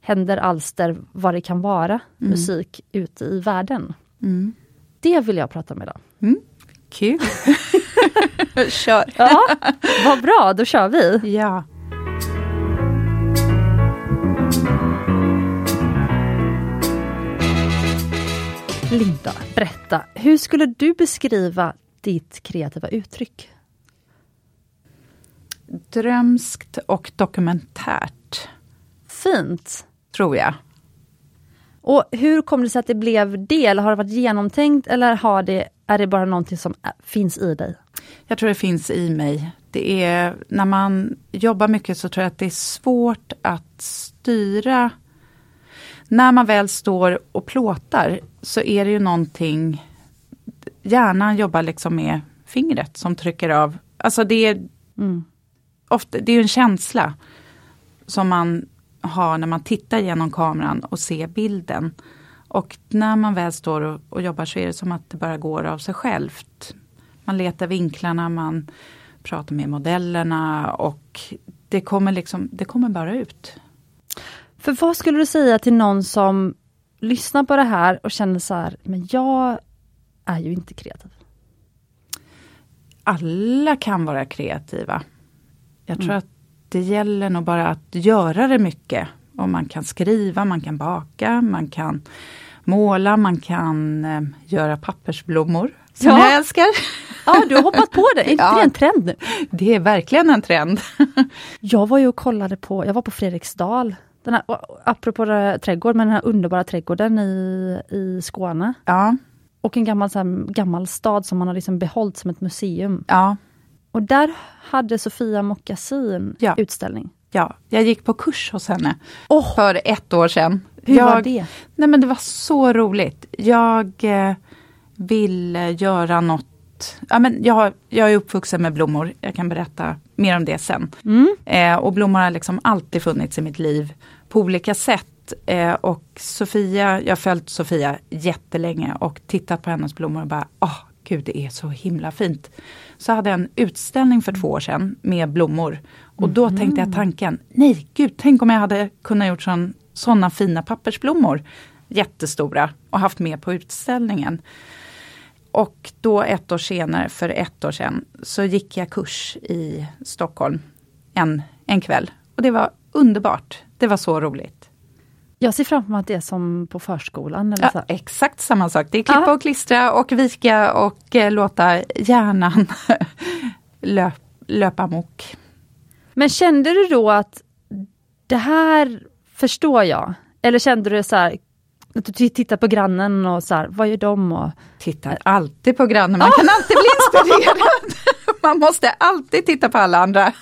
[SPEAKER 1] händer, alster, vad det kan vara, musik ute i världen.
[SPEAKER 2] Mm.
[SPEAKER 1] Det vill jag prata med idag.
[SPEAKER 2] Kul. Kör.
[SPEAKER 1] Ja, vad bra, då kör vi.
[SPEAKER 2] Ja.
[SPEAKER 1] Linda, berätta, hur skulle du beskriva ditt kreativa uttryck?
[SPEAKER 2] Drömskt och dokumentärt,
[SPEAKER 1] Fint.
[SPEAKER 2] tror jag.
[SPEAKER 1] Och hur kom det sig att det blev det? Eller har det varit genomtänkt eller har det, är det bara någonting som ä- finns i dig?
[SPEAKER 2] Jag tror det finns i mig. Det är, när man jobbar mycket så tror jag att det är svårt att styra. När man väl står och plåtar så är det ju någonting, hjärnan jobbar liksom med fingret som trycker av. Alltså det är,
[SPEAKER 1] Mm.
[SPEAKER 2] ofta, det är ju en känsla som man har när man tittar genom kameran och ser bilden. Och när man väl står och, och jobbar så är det som att det bara går av sig självt. Man letar vinklarna, man pratar med modellerna och det kommer, liksom, det kommer bara ut.
[SPEAKER 1] För vad skulle du säga till någon som lyssnar på det här och känner så här, men jag är ju inte kreativ.
[SPEAKER 2] alla kan vara kreativa. Jag
[SPEAKER 1] Mm.
[SPEAKER 2] tror att det gäller nog bara att göra det mycket. Och man kan skriva, man kan baka, man kan måla, man kan eh, göra pappersblommor. Som
[SPEAKER 1] Ja.
[SPEAKER 2] jag älskar.
[SPEAKER 1] Ja, du har hoppat på det, är inte
[SPEAKER 2] Ja.
[SPEAKER 1] det en trend nu?
[SPEAKER 2] Det är verkligen en trend.
[SPEAKER 1] Jag var ju och kollade på, jag var på Fredriksdal, den här, och- och apropå det här trädgård, men den här underbara trädgården i, i Skåne.
[SPEAKER 2] Ja,
[SPEAKER 1] Och en gammal, så här, gammal stad som man har liksom behållit som ett museum.
[SPEAKER 2] ja,
[SPEAKER 1] Och där hade Sofia Mockasin
[SPEAKER 2] Ja.
[SPEAKER 1] utställning.
[SPEAKER 2] ja. Jag gick på kurs hos henne
[SPEAKER 1] Åh,
[SPEAKER 2] för ett år sedan.
[SPEAKER 1] hur
[SPEAKER 2] jag,
[SPEAKER 1] var det?
[SPEAKER 2] Nej men det var så roligt. Jag eh, ville göra något. Ja, men jag, jag är uppvuxen med blommor. Jag kan berätta mer om det sen.
[SPEAKER 1] Mm.
[SPEAKER 2] Eh, och blommor har liksom alltid funnits i mitt liv på olika sätt. Eh, och Sofia, jag har följt Sofia jättelänge och tittat på hennes blommor och bara, åh gud det är så himla fint. Så hade jag en utställning för två år sedan med blommor. Och då tänkte jag tanken, nej gud, tänk om jag hade kunnat gjort sån, såna fina pappersblommor. Jättestora och haft med på utställningen. Och då ett år senare, för ett år sedan, så gick jag kurs i Stockholm en, en kväll. Och det var underbart. Det var så roligt.
[SPEAKER 1] Jag ser framför mig att det är som på förskolan. Eller så
[SPEAKER 2] Ja,
[SPEAKER 1] här.
[SPEAKER 2] exakt samma sak. Det är klippa
[SPEAKER 1] Ja.
[SPEAKER 2] och klistra och vika och eh, låta hjärnan löp, löpa mok.
[SPEAKER 1] Men kände du då att det här förstår jag? Eller kände du så här, att du tittar på grannen och så här, vad gör de? Och,
[SPEAKER 2] Tittar Eh, alltid på grannen, man kan alltid bli inspirerad. Man måste alltid titta på alla andra.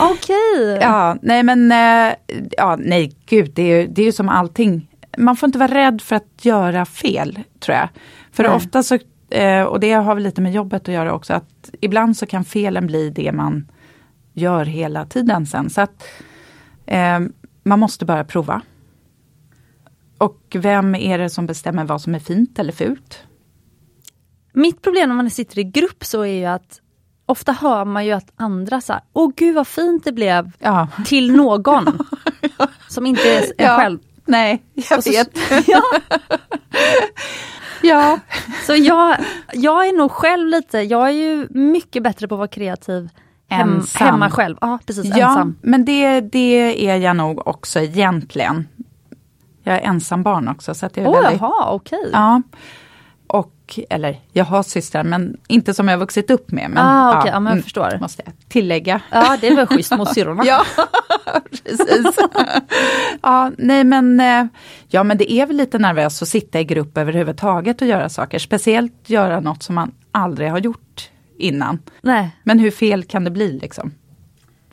[SPEAKER 1] Okej!
[SPEAKER 2] Ja, nej men, eh, ja, nej gud, det är, ju- det är ju som allting. Man får inte vara rädd för att göra fel, tror jag. För
[SPEAKER 1] Nej.
[SPEAKER 2] ofta så, eh, och det har väl lite med jobbet att göra också, att ibland så kan felen bli det man gör hela tiden sen. Så att eh, man måste bara prova. Och vem är det som bestämmer vad som är fint eller fult?
[SPEAKER 1] Mitt problem när man sitter i grupp så är ju att ofta hör man ju att andra så här, åh gud vad fint det blev,
[SPEAKER 2] Ja,
[SPEAKER 1] till någon som inte är en
[SPEAKER 2] Ja,
[SPEAKER 1] själv.
[SPEAKER 2] nej, jag
[SPEAKER 1] Och så-
[SPEAKER 2] vet.
[SPEAKER 1] Ja,
[SPEAKER 2] Ja.
[SPEAKER 1] så jag, jag är nog själv lite, jag är ju mycket bättre på att vara kreativ hem,
[SPEAKER 2] Ensam.
[SPEAKER 1] hemma själv. Ja, precis,
[SPEAKER 2] Ja,
[SPEAKER 1] ensam.
[SPEAKER 2] men det, det är jag nog också egentligen. Jag är ensambarn också så att det är
[SPEAKER 1] Åh,
[SPEAKER 2] väldigt...
[SPEAKER 1] jaha, okej.
[SPEAKER 2] Ja. Och, eller jag har systrar men inte som jag har vuxit upp med. Men,
[SPEAKER 1] Ah, okej, ja, men jag
[SPEAKER 2] mm,
[SPEAKER 1] förstår.
[SPEAKER 2] Måste jag tillägga.
[SPEAKER 1] Ja, det är väl schysst mot syrrorna.
[SPEAKER 2] Ja, precis. ja, nej men, eh, ja, men det är väl lite nervöst att sitta i grupp överhuvudtaget och göra saker. Speciellt göra något som man aldrig har gjort innan.
[SPEAKER 1] Nej.
[SPEAKER 2] Men hur fel kan det bli liksom?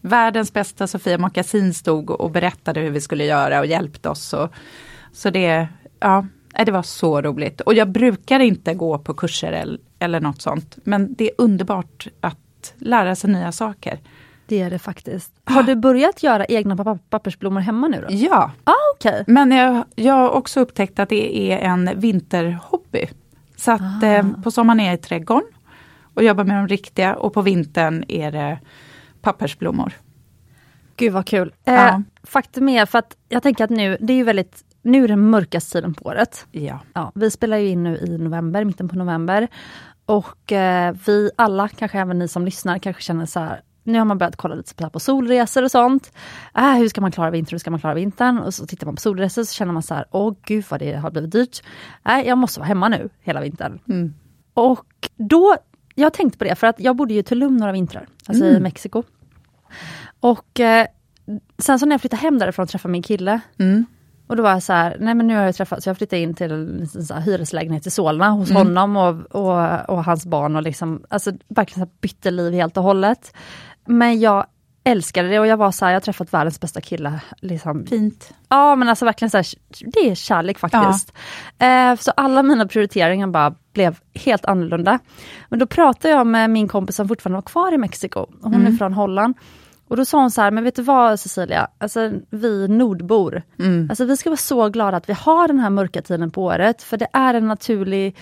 [SPEAKER 2] Världens bästa Sofia Mockasin stod och berättade hur vi skulle göra och hjälpte oss. Och, så det, ja, nej, det var så roligt. Och jag brukar inte gå på kurser eller, eller något sånt. Men det är underbart att lära sig nya saker.
[SPEAKER 1] Det är det faktiskt. Har du börjat göra egna pappa- pappersblommor hemma nu då?
[SPEAKER 2] Ja,
[SPEAKER 1] Ja, Mm, okej.
[SPEAKER 2] men jag, jag har också upptäckt att det är en vinterhobby. Så att eh, på sommaren är jag i trädgården och jobbar med de riktiga och på vintern är det pappersblommor.
[SPEAKER 1] Gud vad kul. Eh,
[SPEAKER 2] Ja.
[SPEAKER 1] faktum är, för att jag tänker att nu, det är ju väldigt, nu är den mörkaste tiden på året.
[SPEAKER 2] Ja.
[SPEAKER 1] Ja, vi spelar ju in nu i november, mitten på november. Och eh, vi alla, kanske även ni som lyssnar, kanske känner så här, nu har man börjat kolla lite så här på solresor och sånt. Äh, hur ska man klara vintern, hur ska man klara vintern? Och så tittar man på solresor så känner man så här, åh gud vad det har blivit dyrt. Äh, jag måste vara hemma nu hela vintern.
[SPEAKER 2] Mm.
[SPEAKER 1] Och då, jag tänkte på det, för att jag bodde ju i Tulum några vintrar, alltså i Mexiko. Och eh, sen så när jag flyttade hem därifrån och träffade min kille,
[SPEAKER 2] Mm.
[SPEAKER 1] Och då var jag så här, nej men nu har jag träffat, så jag flyttade in till en sån här hyreslägenhet i Solna hos honom och, och, och hans barn och liksom, alltså verkligen så här bytte liv helt och hållet. Men jag älskade det och jag var så här, jag har träffat världens bästa kille. Liksom.
[SPEAKER 2] Fint.
[SPEAKER 1] Ja men alltså verkligen så här, det är kärlek faktiskt. Eh, så alla mina prioriteringar bara blev helt annorlunda. Men då pratade jag med min kompis som fortfarande var kvar i Mexiko, och hon är från Holland. Och då sa hon så här, men vet du vad Cecilia, alltså, vi nordbor,
[SPEAKER 2] Mm.
[SPEAKER 1] alltså, vi ska vara så glada att vi har den här mörka tiden på året, för det är en naturlig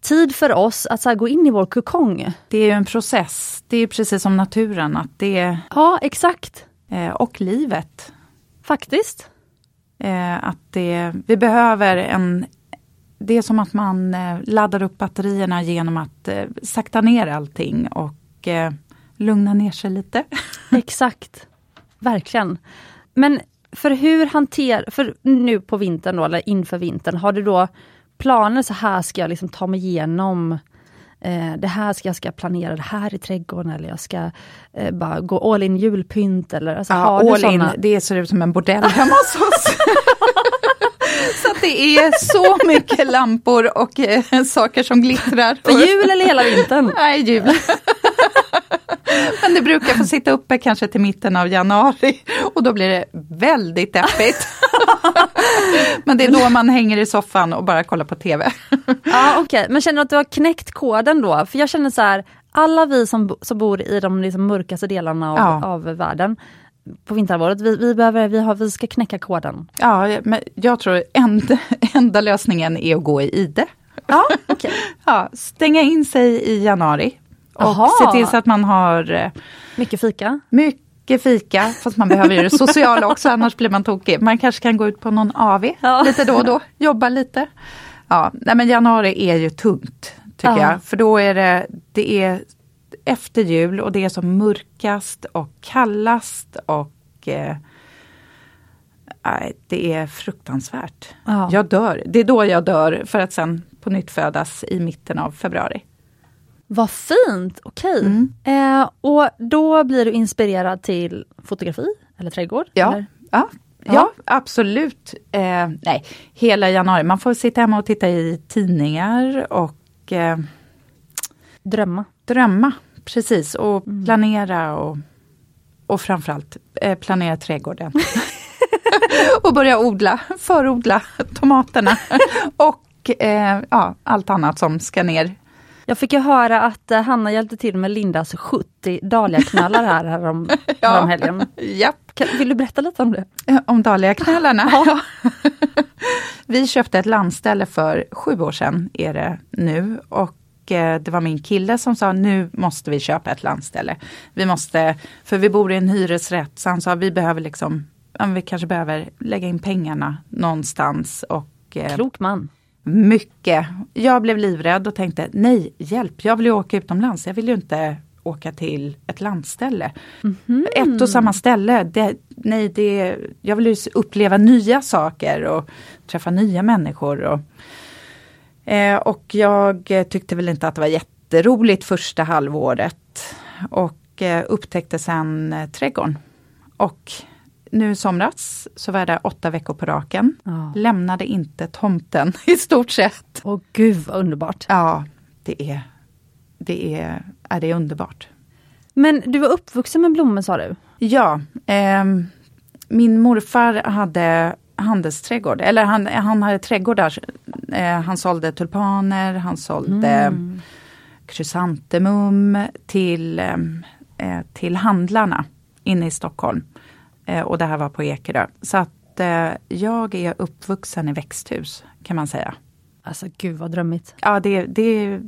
[SPEAKER 1] tid för oss att så här, gå in i vår kokong.
[SPEAKER 2] Det är ju en process. Det är precis som naturen att det,
[SPEAKER 1] Ja exakt,
[SPEAKER 2] eh, och livet.
[SPEAKER 1] faktiskt.
[SPEAKER 2] Eh, att det, vi behöver en... Det är som att man eh, laddar upp batterierna genom att eh, sakta ner allting och eh, lugna ner sig lite.
[SPEAKER 1] Exakt, verkligen. Men för hur hanterar, för nu på vintern då, eller inför vintern, har du då planer så här ska jag liksom ta mig igenom eh, det här ska jag ska planera det här i trädgården eller jag ska eh, bara gå all in julpynt eller alltså, har du
[SPEAKER 2] all
[SPEAKER 1] såna?
[SPEAKER 2] in, det ser ut som en bordell hemma hos oss. Så att det är så mycket lampor och eh, saker som glittrar.
[SPEAKER 1] För jul eller hela vintern?
[SPEAKER 2] Nej, jul. Men det brukar få sitta uppe kanske till mitten av januari och då blir det väldigt deppigt. Men det är då man hänger i soffan och bara kollar på TV.
[SPEAKER 1] Ja okej, men känner du att du har knäckt koden då? För jag känner så här, alla vi som, bo- som bor i de liksom mörkaste delarna av,
[SPEAKER 2] Ja.
[SPEAKER 1] av världen på vinterhalvåret, vi, vi, behöver, vi, har, vi ska knäcka koden.
[SPEAKER 2] Ja, men jag tror enda, enda lösningen är att gå i E. ide.
[SPEAKER 1] Ja, okej.
[SPEAKER 2] Ja, stänga in sig i januari och
[SPEAKER 1] Aha.
[SPEAKER 2] se till så att man har eh,
[SPEAKER 1] Mycket fika.
[SPEAKER 2] mycket fika, fast man behöver ju det sociala också, annars blir man tokig. Man kanske kan gå ut på någon AV
[SPEAKER 1] Ja.
[SPEAKER 2] lite då och då, jobba lite. Ja, nej men januari är ju tungt, tycker
[SPEAKER 1] Ja.
[SPEAKER 2] jag. För då är det, det är efter jul och det är som mörkast och kallast och eh, nej, det är fruktansvärt.
[SPEAKER 1] Ja.
[SPEAKER 2] Jag dör, det är då jag dör för att sen på nytt födas i mitten av februari.
[SPEAKER 1] Vad fint, okej. Eh, och då blir du inspirerad till fotografi eller trädgård?
[SPEAKER 2] Ja,
[SPEAKER 1] Eller?
[SPEAKER 2] ja,
[SPEAKER 1] Ja.
[SPEAKER 2] ja. absolut. Eh, nej, hela januari. Man får sitta hemma och titta i tidningar och eh,
[SPEAKER 1] Drömma.
[SPEAKER 2] drömma. Precis, och planera och, och framförallt eh, planera trädgården. och börja odla, förodla tomaterna och eh, ja, allt annat som ska ner.
[SPEAKER 1] Jag fick ju höra att eh, Hanna hjälpte till med Lindas 70 dahliaknölar här härom, härom helgen.
[SPEAKER 2] Japp.
[SPEAKER 1] Kan, vill du berätta lite om det?
[SPEAKER 2] Eh, Om Dahliaknölarna? Ja. Vi köpte ett landställe för sju år sedan är det nu och eh, det var min kille som sa nu måste vi köpa ett landställe. Vi måste, för vi bor i en hyresrätt så han sa vi behöver liksom, ja, men vi kanske behöver lägga in pengarna någonstans och eh,
[SPEAKER 1] Klok man.
[SPEAKER 2] mycket. Jag blev livrädd och tänkte nej, hjälp, jag vill ju åka utomlands. Jag vill ju inte åka till ett landställe. Ett och samma ställe, det, nej, det, jag vill ju uppleva nya saker och träffa nya människor. Och, Eh, och jag eh, tyckte väl inte att det var jätteroligt första halvåret. Och eh, upptäckte sen eh, trädgården. Och nu i somras så var jag där åtta veckor på raken.
[SPEAKER 1] Ja.
[SPEAKER 2] Lämnade inte tomten i stort sett.
[SPEAKER 1] Åh gud vad underbart.
[SPEAKER 2] Ja, det är, det är, ja, det är underbart.
[SPEAKER 1] Men du var uppvuxen med blommor sa du?
[SPEAKER 2] Ja, ehm, min morfar hade handelsträdgård, eller han, han hade trädgårdar. Eh, han sålde tulpaner, han sålde krysantemum till, ehm, eh, till handlarna inne i Stockholm. Eh, och det här var på Ekerö. Så att eh, jag är uppvuxen i växthus kan man säga.
[SPEAKER 1] Alltså gud vad drömmigt.
[SPEAKER 2] Ja, det, det är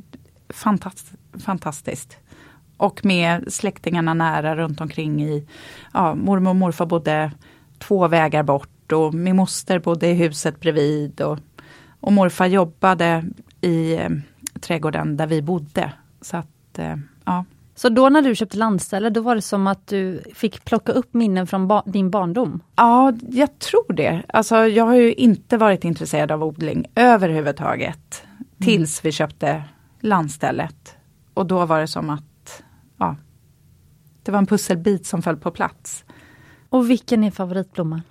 [SPEAKER 2] fantast, fantastiskt. Och med släktingarna nära runt omkring i, ja, mormor och morfar bodde två vägar bort och min moster bodde i huset bredvid och, och morfar jobbade i eh, trädgården där vi bodde. Så att, eh, ja.
[SPEAKER 1] Så då när du köpte landställe, då var det som att du fick plocka upp minnen från ba- din barndom?
[SPEAKER 2] Ja, jag tror det. Alltså, jag har ju inte varit intresserad av odling överhuvudtaget. Tills vi köpte landstället. Och då var det som att, ja, det var en pusselbit som föll på plats.
[SPEAKER 1] Och vilken är favoritblomman?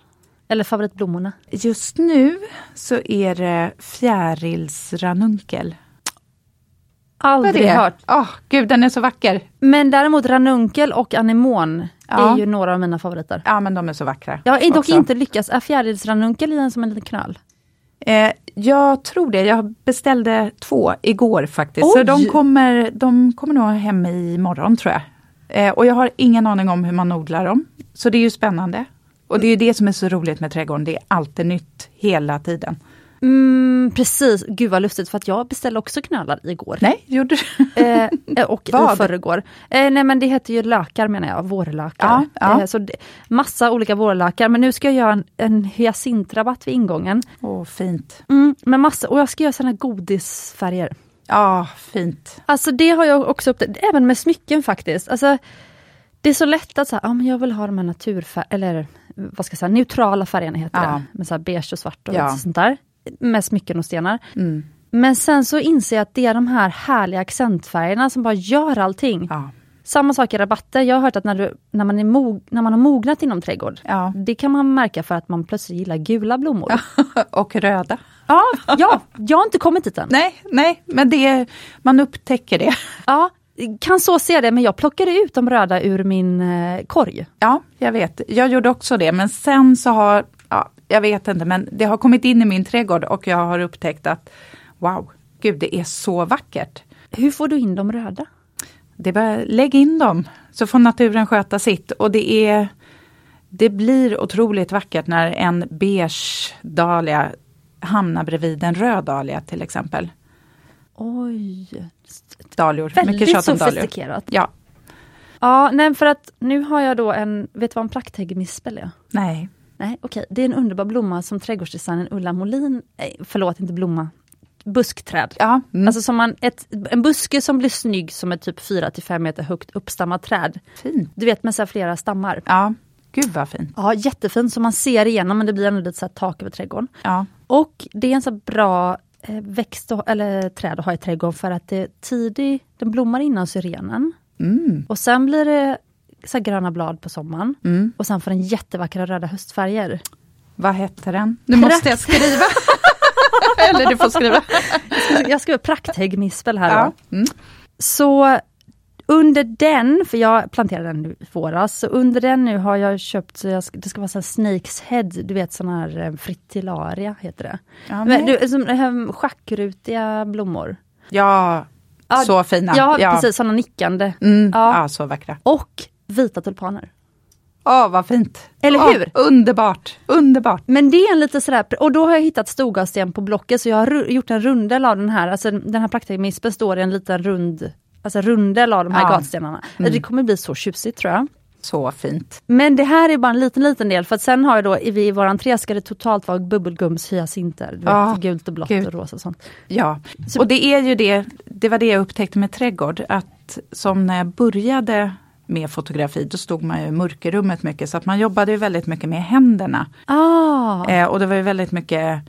[SPEAKER 1] Eller favoritblommorna?
[SPEAKER 2] Just nu så är det fjärilsranunkel. Vad är
[SPEAKER 1] Aldrig
[SPEAKER 2] det?
[SPEAKER 1] hört.
[SPEAKER 2] Åh, gud, den är så vacker.
[SPEAKER 1] Men däremot ranunkel och anemon är
[SPEAKER 2] Ja.
[SPEAKER 1] ju några av mina favoriter.
[SPEAKER 2] Ja, men de är så vackra.
[SPEAKER 1] Jag har dock
[SPEAKER 2] också.
[SPEAKER 1] inte lyckats. Är fjärilsranunkel i en som en liten knöl?
[SPEAKER 2] Eh, jag tror det. Jag beställde två igår faktiskt. Så
[SPEAKER 1] Oj!
[SPEAKER 2] de kommer, de kommer nog hem imorgon tror jag. Eh, och jag har ingen aning om hur man odlar dem. Så det är ju spännande. Och det är ju det som är så roligt med trädgården. Det är alltid nytt hela tiden.
[SPEAKER 1] Mm, precis, gud vad lustigt för att jag beställde också knölar igår.
[SPEAKER 2] Nej, gjorde du?
[SPEAKER 1] Eh, eh, och i
[SPEAKER 2] Vad?
[SPEAKER 1] förrgår. Eh, nej men det heter ju lökar menar jag, vårlökar.
[SPEAKER 2] Ja, ja.
[SPEAKER 1] Eh, så det, massa olika vårlökar, men nu ska jag göra en, en hyacintrabatt vid ingången.
[SPEAKER 2] Åh, fint.
[SPEAKER 1] Mm, med massa, och jag ska göra såna här godisfärger.
[SPEAKER 2] Ja, fint.
[SPEAKER 1] Alltså det har jag också upptäckt, även med smycken faktiskt. Alltså, det är så lätt att säga, ah, men jag vill ha de här naturfär- eller vad ska jag säga, neutrala färgerna heter
[SPEAKER 2] Ja.
[SPEAKER 1] det. Med så här beige och svart och
[SPEAKER 2] Ja.
[SPEAKER 1] lite sånt där. Med smycken och stenar.
[SPEAKER 2] Mm.
[SPEAKER 1] Men sen så inser jag att det är de här härliga accentfärgerna som bara gör allting.
[SPEAKER 2] Ja.
[SPEAKER 1] Samma sak i rabatter, jag har hört att när, du, när, man, är mog- när man har mognat inom trädgård,
[SPEAKER 2] ja.
[SPEAKER 1] det kan man märka för att man plötsligt gillar gula blommor. Ja,
[SPEAKER 2] Och röda.
[SPEAKER 1] ja, jag har inte kommit dit än.
[SPEAKER 2] Nej, nej, men det, man upptäcker det.
[SPEAKER 1] Ja, kan så se det, men jag plockade ut de röda ur min eh, korg.
[SPEAKER 2] Ja, jag vet. Jag gjorde också det, men sen så har, ja, jag vet inte, men det har kommit in i min trädgård och jag har upptäckt att wow, gud det är så vackert.
[SPEAKER 1] Hur får du in de röda?
[SPEAKER 2] Det är bara, lägg in dem, så får naturen sköta sitt. Och det är, det blir otroligt vackert när en beige dahlia hamnar bredvid en röd dahlia till exempel.
[SPEAKER 1] Oj,
[SPEAKER 2] Dahlior, mycket
[SPEAKER 1] väldigt
[SPEAKER 2] tjat om dahlior.
[SPEAKER 1] sofistikerat.
[SPEAKER 2] Ja,
[SPEAKER 1] Ja, nej för att nu har jag då en, vet du vad en prakthäggmispel är?
[SPEAKER 2] nej.
[SPEAKER 1] Nej, okej, det är en underbar blomma som trädgårdsdesignern Ulla Molin, nej, förlåt inte blomma, buskträd.
[SPEAKER 2] Ja, mm.
[SPEAKER 1] Alltså som man, ett, en buske som blir snygg som ett typ 4 till 5 meter högt uppstammat träd.
[SPEAKER 2] fint.
[SPEAKER 1] Du vet med så här flera stammar.
[SPEAKER 2] Ja, gud vad fint.
[SPEAKER 1] Ja, jättefin som man ser igenom men det blir ändå lite så här tak över trädgården.
[SPEAKER 2] Ja,
[SPEAKER 1] Och det är en så här bra eh, växt och, eller träd att ha i trädgården för att det tidig, den blommar innan syrenen.
[SPEAKER 2] mm.
[SPEAKER 1] Och sen blir det så här gröna blad på sommaren.
[SPEAKER 2] Mm.
[SPEAKER 1] Och sen får den jättevackra röda höstfärger.
[SPEAKER 2] Vad hette den? Nu måste jag skriva. Eller du får skriva.
[SPEAKER 1] Jag skriver prakthäggmispel här då.
[SPEAKER 2] Ja. Mm.
[SPEAKER 1] Så under den, för jag planterade den nu i våras, så under den nu har jag köpt, så jag, ska- det ska vara så här snakes head, du vet sån här eh, fritillaria heter det.
[SPEAKER 2] Ja,
[SPEAKER 1] Men,
[SPEAKER 2] men,
[SPEAKER 1] du, som, eh, schackrutiga blommor.
[SPEAKER 2] ja,
[SPEAKER 1] Ja,
[SPEAKER 2] så fina.
[SPEAKER 1] Ja, precis, såna nickande.
[SPEAKER 2] Mm.
[SPEAKER 1] Ja.
[SPEAKER 2] Ja. så vackra.
[SPEAKER 1] Och vita tulpaner.
[SPEAKER 2] Ja, vad fint.
[SPEAKER 1] Eller
[SPEAKER 2] Ja,
[SPEAKER 1] hur?
[SPEAKER 2] Underbart, underbart.
[SPEAKER 1] Men det är en lite sådär, och då har jag hittat Storgasten på Blocket, så jag har ru- gjort en rundel av den här, alltså den här praktikmispen står i en liten rund, alltså rundel av de här
[SPEAKER 2] Ja. Mm.
[SPEAKER 1] gatstenarna. Det kommer bli så tjusigt tror jag.
[SPEAKER 2] Så fint.
[SPEAKER 1] Men det här är bara en liten, liten del, för att sen har jag då i, i vår entré ska det totalt vara bubbelgumshyacinter, du vet,
[SPEAKER 2] Ja,
[SPEAKER 1] gult och blått
[SPEAKER 2] gud.
[SPEAKER 1] och rosa och sånt.
[SPEAKER 2] Ja,
[SPEAKER 1] Så-
[SPEAKER 2] och det är ju det, det var det jag upptäckte med trädgård, att som när jag började med fotografi, då stod man ju i mörkerrummet mycket, så att man jobbade ju väldigt mycket med händerna.
[SPEAKER 1] Ah,
[SPEAKER 2] Eh, och det var ju väldigt mycket,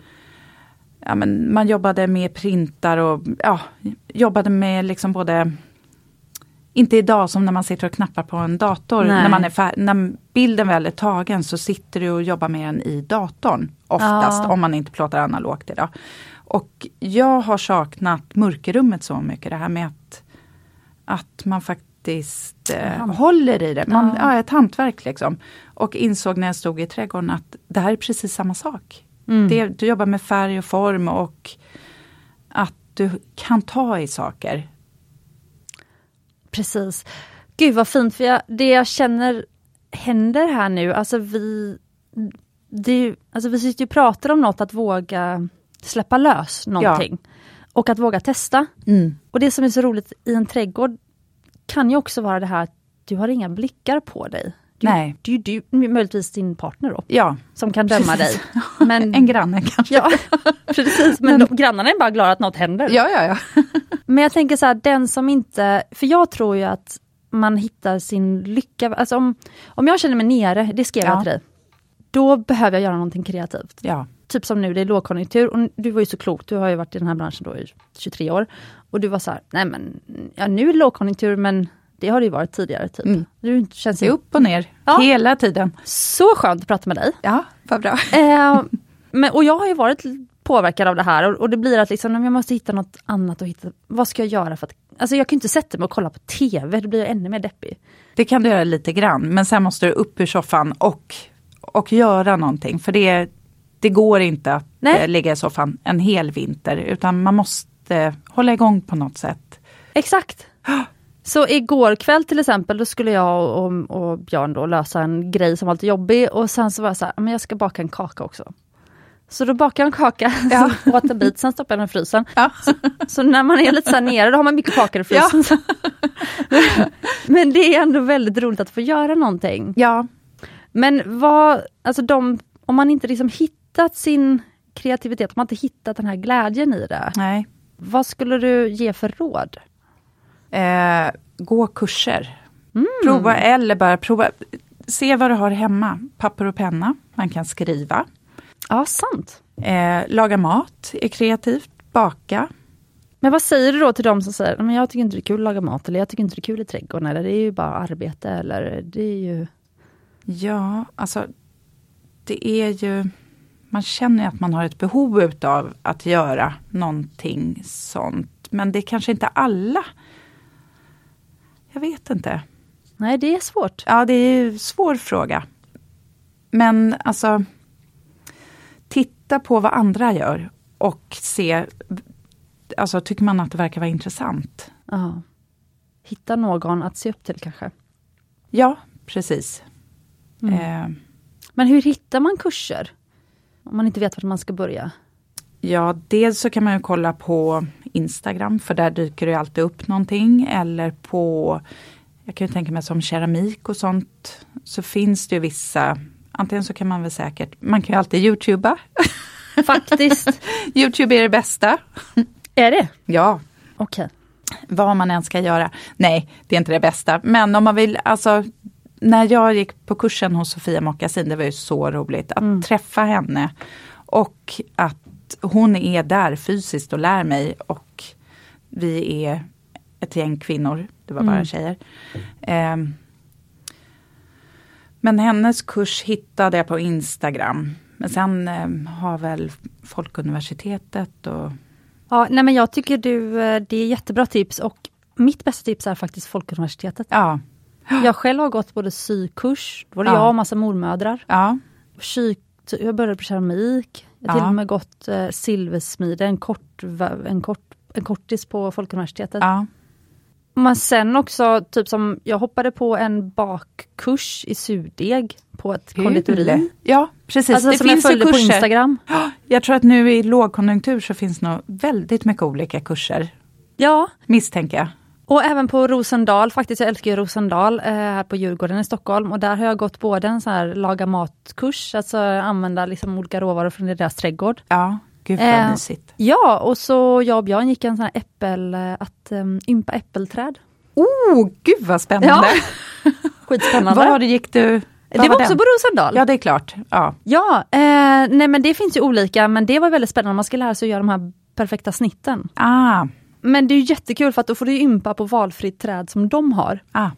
[SPEAKER 2] ja, men man jobbade med printar och ja, jobbade med liksom både, inte idag som när man sitter och knappar på en dator,
[SPEAKER 1] Nej.
[SPEAKER 2] när, man är fär- när bilden väl är tagen så sitter du och jobbar med den i datorn oftast,
[SPEAKER 1] Ja.
[SPEAKER 2] om man inte plåtar analogt idag. Och jag har saknat mörkerrummet så mycket, det här med att, att man faktiskt eh, håller i det. Man, ja. ett hantverk liksom. Och insåg när jag stod i trädgården att det här är precis samma sak.
[SPEAKER 1] Mm.
[SPEAKER 2] Det, du jobbar med färg och form och att du kan ta i saker.
[SPEAKER 1] precis. Gud vad fint, för jag, det jag känner händer här nu, alltså vi, det är ju, alltså vi sitter ju och pratar om något, att våga släppa lös någonting. Och att våga testa.
[SPEAKER 2] Mm.
[SPEAKER 1] Och det som är så roligt i en trädgård kan ju också vara det här att du har inga blickar på dig. Du,
[SPEAKER 2] Nej.
[SPEAKER 1] Du, du, möjligtvis din partner då,
[SPEAKER 2] Ja,
[SPEAKER 1] som kan döma dig.
[SPEAKER 2] Precis.
[SPEAKER 1] Men,
[SPEAKER 2] en granne kanske.
[SPEAKER 1] ja, precis, men, de, grannarna är bara glada att något händer.
[SPEAKER 2] Ja, ja, ja.
[SPEAKER 1] Men jag tänker så här, den som inte... För jag tror ju att man hittar sin lycka. Alltså om, om jag känner mig nere, det skrev jag
[SPEAKER 2] Ja.
[SPEAKER 1] till dig, då behöver jag göra någonting kreativt.
[SPEAKER 2] ja.
[SPEAKER 1] Typ som nu, det är lågkonjunktur och du var ju så klok, du har ju varit i den här branschen då i 23 år. Och du var så här, nej men, ja nu är det lågkonjunktur men Det har det ju varit tidigare typ.
[SPEAKER 2] Mm.
[SPEAKER 1] Du känns
[SPEAKER 2] Det är
[SPEAKER 1] ju
[SPEAKER 2] upp och ner,
[SPEAKER 1] Ja.
[SPEAKER 2] hela tiden.
[SPEAKER 1] så skönt att prata med dig.
[SPEAKER 2] Ja, vad bra.
[SPEAKER 1] Eh, men, och jag har ju varit l- påverkad av det här och, och det blir att liksom, nej, men jag måste hitta något annat att hitta. Vad ska jag göra för att... Alltså jag kan ju inte sätta mig och kolla på TV, då blir jag ännu mer deppig.
[SPEAKER 2] Det kan du göra lite grann, men sen måste du upp ur soffan och, och göra någonting. För det, det går inte att
[SPEAKER 1] Nej.
[SPEAKER 2] eh, ligga i soffan en hel vinter, utan man måste hålla igång på något sätt.
[SPEAKER 1] Exakt. Så igår kväll till exempel, då skulle jag och, och, och Björn då lösa en grej som var lite jobbig och sen så var jag så här, men jag ska baka en kaka också. Så då bakade jag en kaka,
[SPEAKER 2] Ja.
[SPEAKER 1] så åt en bit, sen stoppade jag den i frysen.
[SPEAKER 2] Ja.
[SPEAKER 1] Så när man är lite så här nere, då har man mycket kakor i frysen. Men det är ändå väldigt roligt att få göra någonting.
[SPEAKER 2] ja.
[SPEAKER 1] Men vad, alltså de, om man inte liksom hittat sin kreativitet, om man inte hittat den här glädjen i det,
[SPEAKER 2] Nej.
[SPEAKER 1] vad skulle du ge för råd?
[SPEAKER 2] Eh, gå kurser. Prova eller bara prova. Se vad du har hemma. Papper och penna. Man kan skriva.
[SPEAKER 1] Ja, sant.
[SPEAKER 2] Eh, laga mat är kreativt. Baka.
[SPEAKER 1] Men vad säger du då till de som säger, men jag tycker inte det är kul att laga mat, eller jag tycker inte det är kul i trädgården, eller det är ju bara arbete, eller det är ju...
[SPEAKER 2] Ja, alltså det är ju... Man känner ju att man har ett behov utav att göra någonting sånt. Men det är kanske inte alla. Jag vet inte.
[SPEAKER 1] Nej, det är svårt.
[SPEAKER 2] Ja, det är ju en svår fråga. Men alltså, titta på vad andra gör och se, alltså tycker man att det verkar vara intressant?
[SPEAKER 1] Ja. Hitta någon att se upp till kanske.
[SPEAKER 2] Ja, precis.
[SPEAKER 1] Mm.
[SPEAKER 2] Eh,
[SPEAKER 1] Men hur hittar man kurser? Om man inte vet vart man ska börja.
[SPEAKER 2] ja, dels så kan man ju kolla på Instagram, för där dyker det ju alltid upp någonting. Eller på, jag kan ju tänka mig som keramik och sånt, så finns det ju vissa, antingen så kan man väl säkert, man kan ju alltid youtuba.
[SPEAKER 1] Faktiskt.
[SPEAKER 2] Youtube är det bästa.
[SPEAKER 1] är det?
[SPEAKER 2] Ja,
[SPEAKER 1] Okej.
[SPEAKER 2] vad man än ska göra. Nej, det är inte det bästa. Men om man vill, alltså när jag gick på kursen hos Sofia Mockasin, det var ju så roligt att träffa henne. Och att hon är där fysiskt och lär mig och vi är ett gäng kvinnor, det var bara
[SPEAKER 1] Mm.
[SPEAKER 2] tjejer. Ehm. men hennes kurs hittade jag på Instagram. Men sen ehm, har väl Folkuniversitetet och
[SPEAKER 1] Ja, nej men jag tycker du, eh, det är jättebra tips och mitt bästa tips är faktiskt Folkuniversitetet.
[SPEAKER 2] ja,
[SPEAKER 1] Jag själv har gått både sykurs, då var det
[SPEAKER 2] Ja.
[SPEAKER 1] jag och massa mormödrar.
[SPEAKER 2] ja,
[SPEAKER 1] Sy, jag började på keramik, jag har
[SPEAKER 2] Ja.
[SPEAKER 1] till och med gått eh, silversmide, en, kort, en, kort, en kortis på Folkuniversitetet.
[SPEAKER 2] ja,
[SPEAKER 1] Men sen också, typ som jag hoppade på en bakkurs i surdeg på ett konditori.
[SPEAKER 2] Konditori. Mm. Ja, precis.
[SPEAKER 1] Alltså
[SPEAKER 2] det
[SPEAKER 1] som jag
[SPEAKER 2] finns ju
[SPEAKER 1] följde på
[SPEAKER 2] kurser.
[SPEAKER 1] Instagram.
[SPEAKER 2] Ja, Jag tror att nu i lågkonjunktur så finns nog väldigt mycket olika kurser,
[SPEAKER 1] Ja,
[SPEAKER 2] misstänker jag.
[SPEAKER 1] Och även på Rosendal, faktiskt, jag älskar ju Rosendal, eh, här på Djurgården i Stockholm. Och där har jag gått både en sån här laga matkurs, alltså använda liksom olika råvaror från deras trädgård.
[SPEAKER 2] Ja, gud vad
[SPEAKER 1] Eh,
[SPEAKER 2] mysigt.
[SPEAKER 1] Ja, och så jag och Björn gick en sån här äppel, eh, att um, ympa äppelträd.
[SPEAKER 2] Oh, gud vad spännande.
[SPEAKER 1] Skitspännande.
[SPEAKER 2] Var gick du?
[SPEAKER 1] det var, också
[SPEAKER 2] den?
[SPEAKER 1] på Rosendal.
[SPEAKER 2] Ja,
[SPEAKER 1] Ja,
[SPEAKER 2] det är klart. Ja,
[SPEAKER 1] eh, nej men det finns ju olika, men det var väldigt spännande. Man ska lära sig att göra de här perfekta snitten.
[SPEAKER 2] ah,
[SPEAKER 1] Men det är ju jättekul för att då får du ju ympa på valfritt träd som de har.
[SPEAKER 2] ah.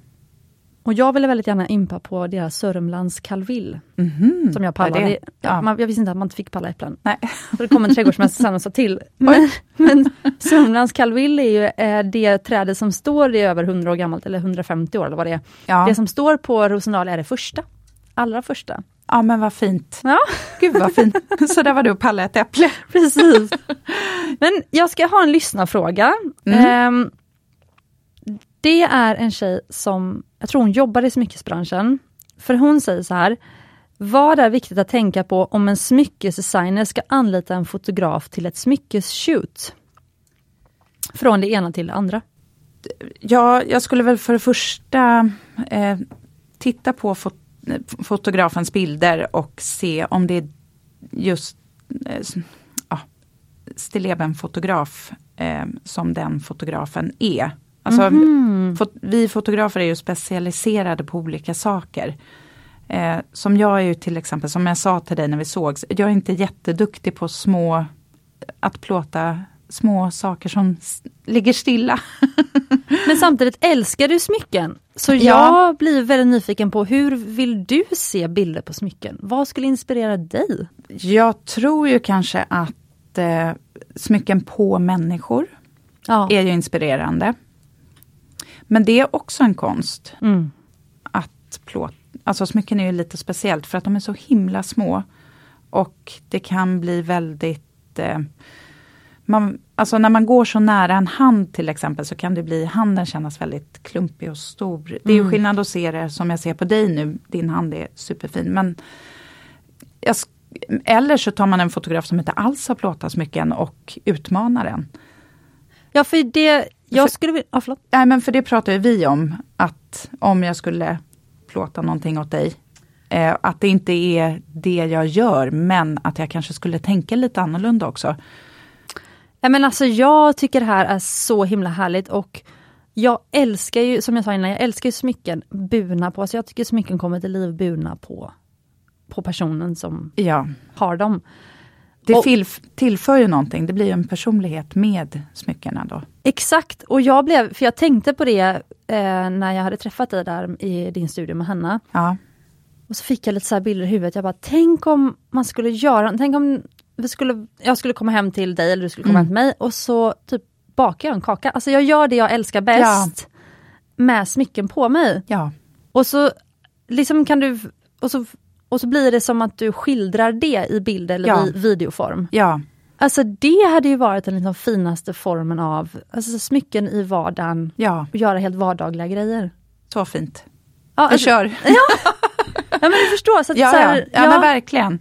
[SPEAKER 1] Och jag ville väldigt gärna ympa på deras Sörmlands kalvill.
[SPEAKER 2] Mhm.
[SPEAKER 1] som jag
[SPEAKER 2] Vad är
[SPEAKER 1] pallade.
[SPEAKER 2] det? Ja.
[SPEAKER 1] Ja, man, jag visste inte att man inte fick palla äpplen.
[SPEAKER 2] Nej.
[SPEAKER 1] Så det kom en trädgårdsmästare sen och sa till. Men, men Sörmlands kallvill är ju eh, det trädet som står, det är över 100 år gammalt, eller 150 år eller vad det är.
[SPEAKER 2] Ja.
[SPEAKER 1] Det som står på Rosendal är det första. Allra första.
[SPEAKER 2] ja, men vad fint.
[SPEAKER 1] Ja,
[SPEAKER 2] Gud vad fint. så där var du och pallade ett äpple.
[SPEAKER 1] precis. Men jag ska ha en lyssnarfråga. Ehm, det är en tjej som, jag tror hon jobbar i smyckesbranschen. För hon säger så här, vad är viktigt att tänka på om en smyckesdesigner ska anlita en fotograf till ett smyckesshoot? Från det ena till det andra.
[SPEAKER 2] Ja, jag skulle väl för det första eh, titta på fot- eh, fotografens bilder och se om det är just eh, s- ja, stilleben-fotograf eh, som den fotografen är. Alltså, fot- vi fotografer är ju specialiserade på olika saker. Eh, som jag är ju till exempel, som jag sa till dig när vi sågs, jag är inte jätteduktig på små, att plåta små saker som s- ligger stilla.
[SPEAKER 1] Men samtidigt älskar du smycken. Så jag
[SPEAKER 2] Ja.
[SPEAKER 1] blir väldigt nyfiken på hur vill du se bilder på smycken? Vad skulle inspirera dig?
[SPEAKER 2] Jag tror ju kanske att eh, smycken på människor
[SPEAKER 1] Ja.
[SPEAKER 2] är ju inspirerande. Men det är också en konst
[SPEAKER 1] Mm.
[SPEAKER 2] att plåt... Alltså smycken är ju lite speciellt för att de är så himla små. Och det kan bli väldigt... Eh, man, alltså när man går så nära en hand till exempel så kan det bli handen kännas väldigt klumpig och stor. Det är ju skillnad att se det som jag ser på dig nu, din hand är superfin. Men jag, sk- eller så tar man en fotograf som inte alls har plåtat smycken och utmanar den.
[SPEAKER 1] Ja, för det jag skulle vilja... Ja, förlåt.
[SPEAKER 2] Nej men för det pratar ju vi om, att om jag skulle plåta någonting åt dig, eh, att det inte är det jag gör, men att jag kanske skulle tänka lite annorlunda också.
[SPEAKER 1] Ja, men alltså, jag tycker det här är så himla härligt och jag älskar ju, som jag sa innan, jag älskar ju smycken burna på. Så jag tycker smycken kommer till liv burna på, på personen som
[SPEAKER 2] Ja,
[SPEAKER 1] har dem.
[SPEAKER 2] det
[SPEAKER 1] Och-
[SPEAKER 2] tillf- tillför ju någonting, det blir ju en personlighet med smyckena då.
[SPEAKER 1] Exakt, och jag blev, för jag tänkte på det eh, när jag hade träffat dig där i din studio med Hanna.
[SPEAKER 2] Ja,
[SPEAKER 1] Och så fick jag lite så här bilder i huvudet. Jag bara, tänk om man skulle göra, tänk om vi skulle, jag skulle komma hem till dig eller du skulle
[SPEAKER 2] Mm.
[SPEAKER 1] komma hem till mig och så typ bakar jag en kaka. Alltså jag gör det jag älskar bäst med smycken på mig.
[SPEAKER 2] ja,
[SPEAKER 1] Och så liksom kan du, och så, och så blir det som att du skildrar det i bild eller
[SPEAKER 2] Ja.
[SPEAKER 1] i videoform.
[SPEAKER 2] ja.
[SPEAKER 1] Alltså det hade ju varit den liksom finaste formen av alltså, smycken i vardagen
[SPEAKER 2] Ja,
[SPEAKER 1] och göra helt vardagliga grejer.
[SPEAKER 2] så fint.
[SPEAKER 1] Ja,
[SPEAKER 2] Vi
[SPEAKER 1] alltså,
[SPEAKER 2] kör!
[SPEAKER 1] ja men du förstår. Så att,
[SPEAKER 2] Ja,
[SPEAKER 1] så
[SPEAKER 2] ja.
[SPEAKER 1] här,
[SPEAKER 2] ja, men verkligen.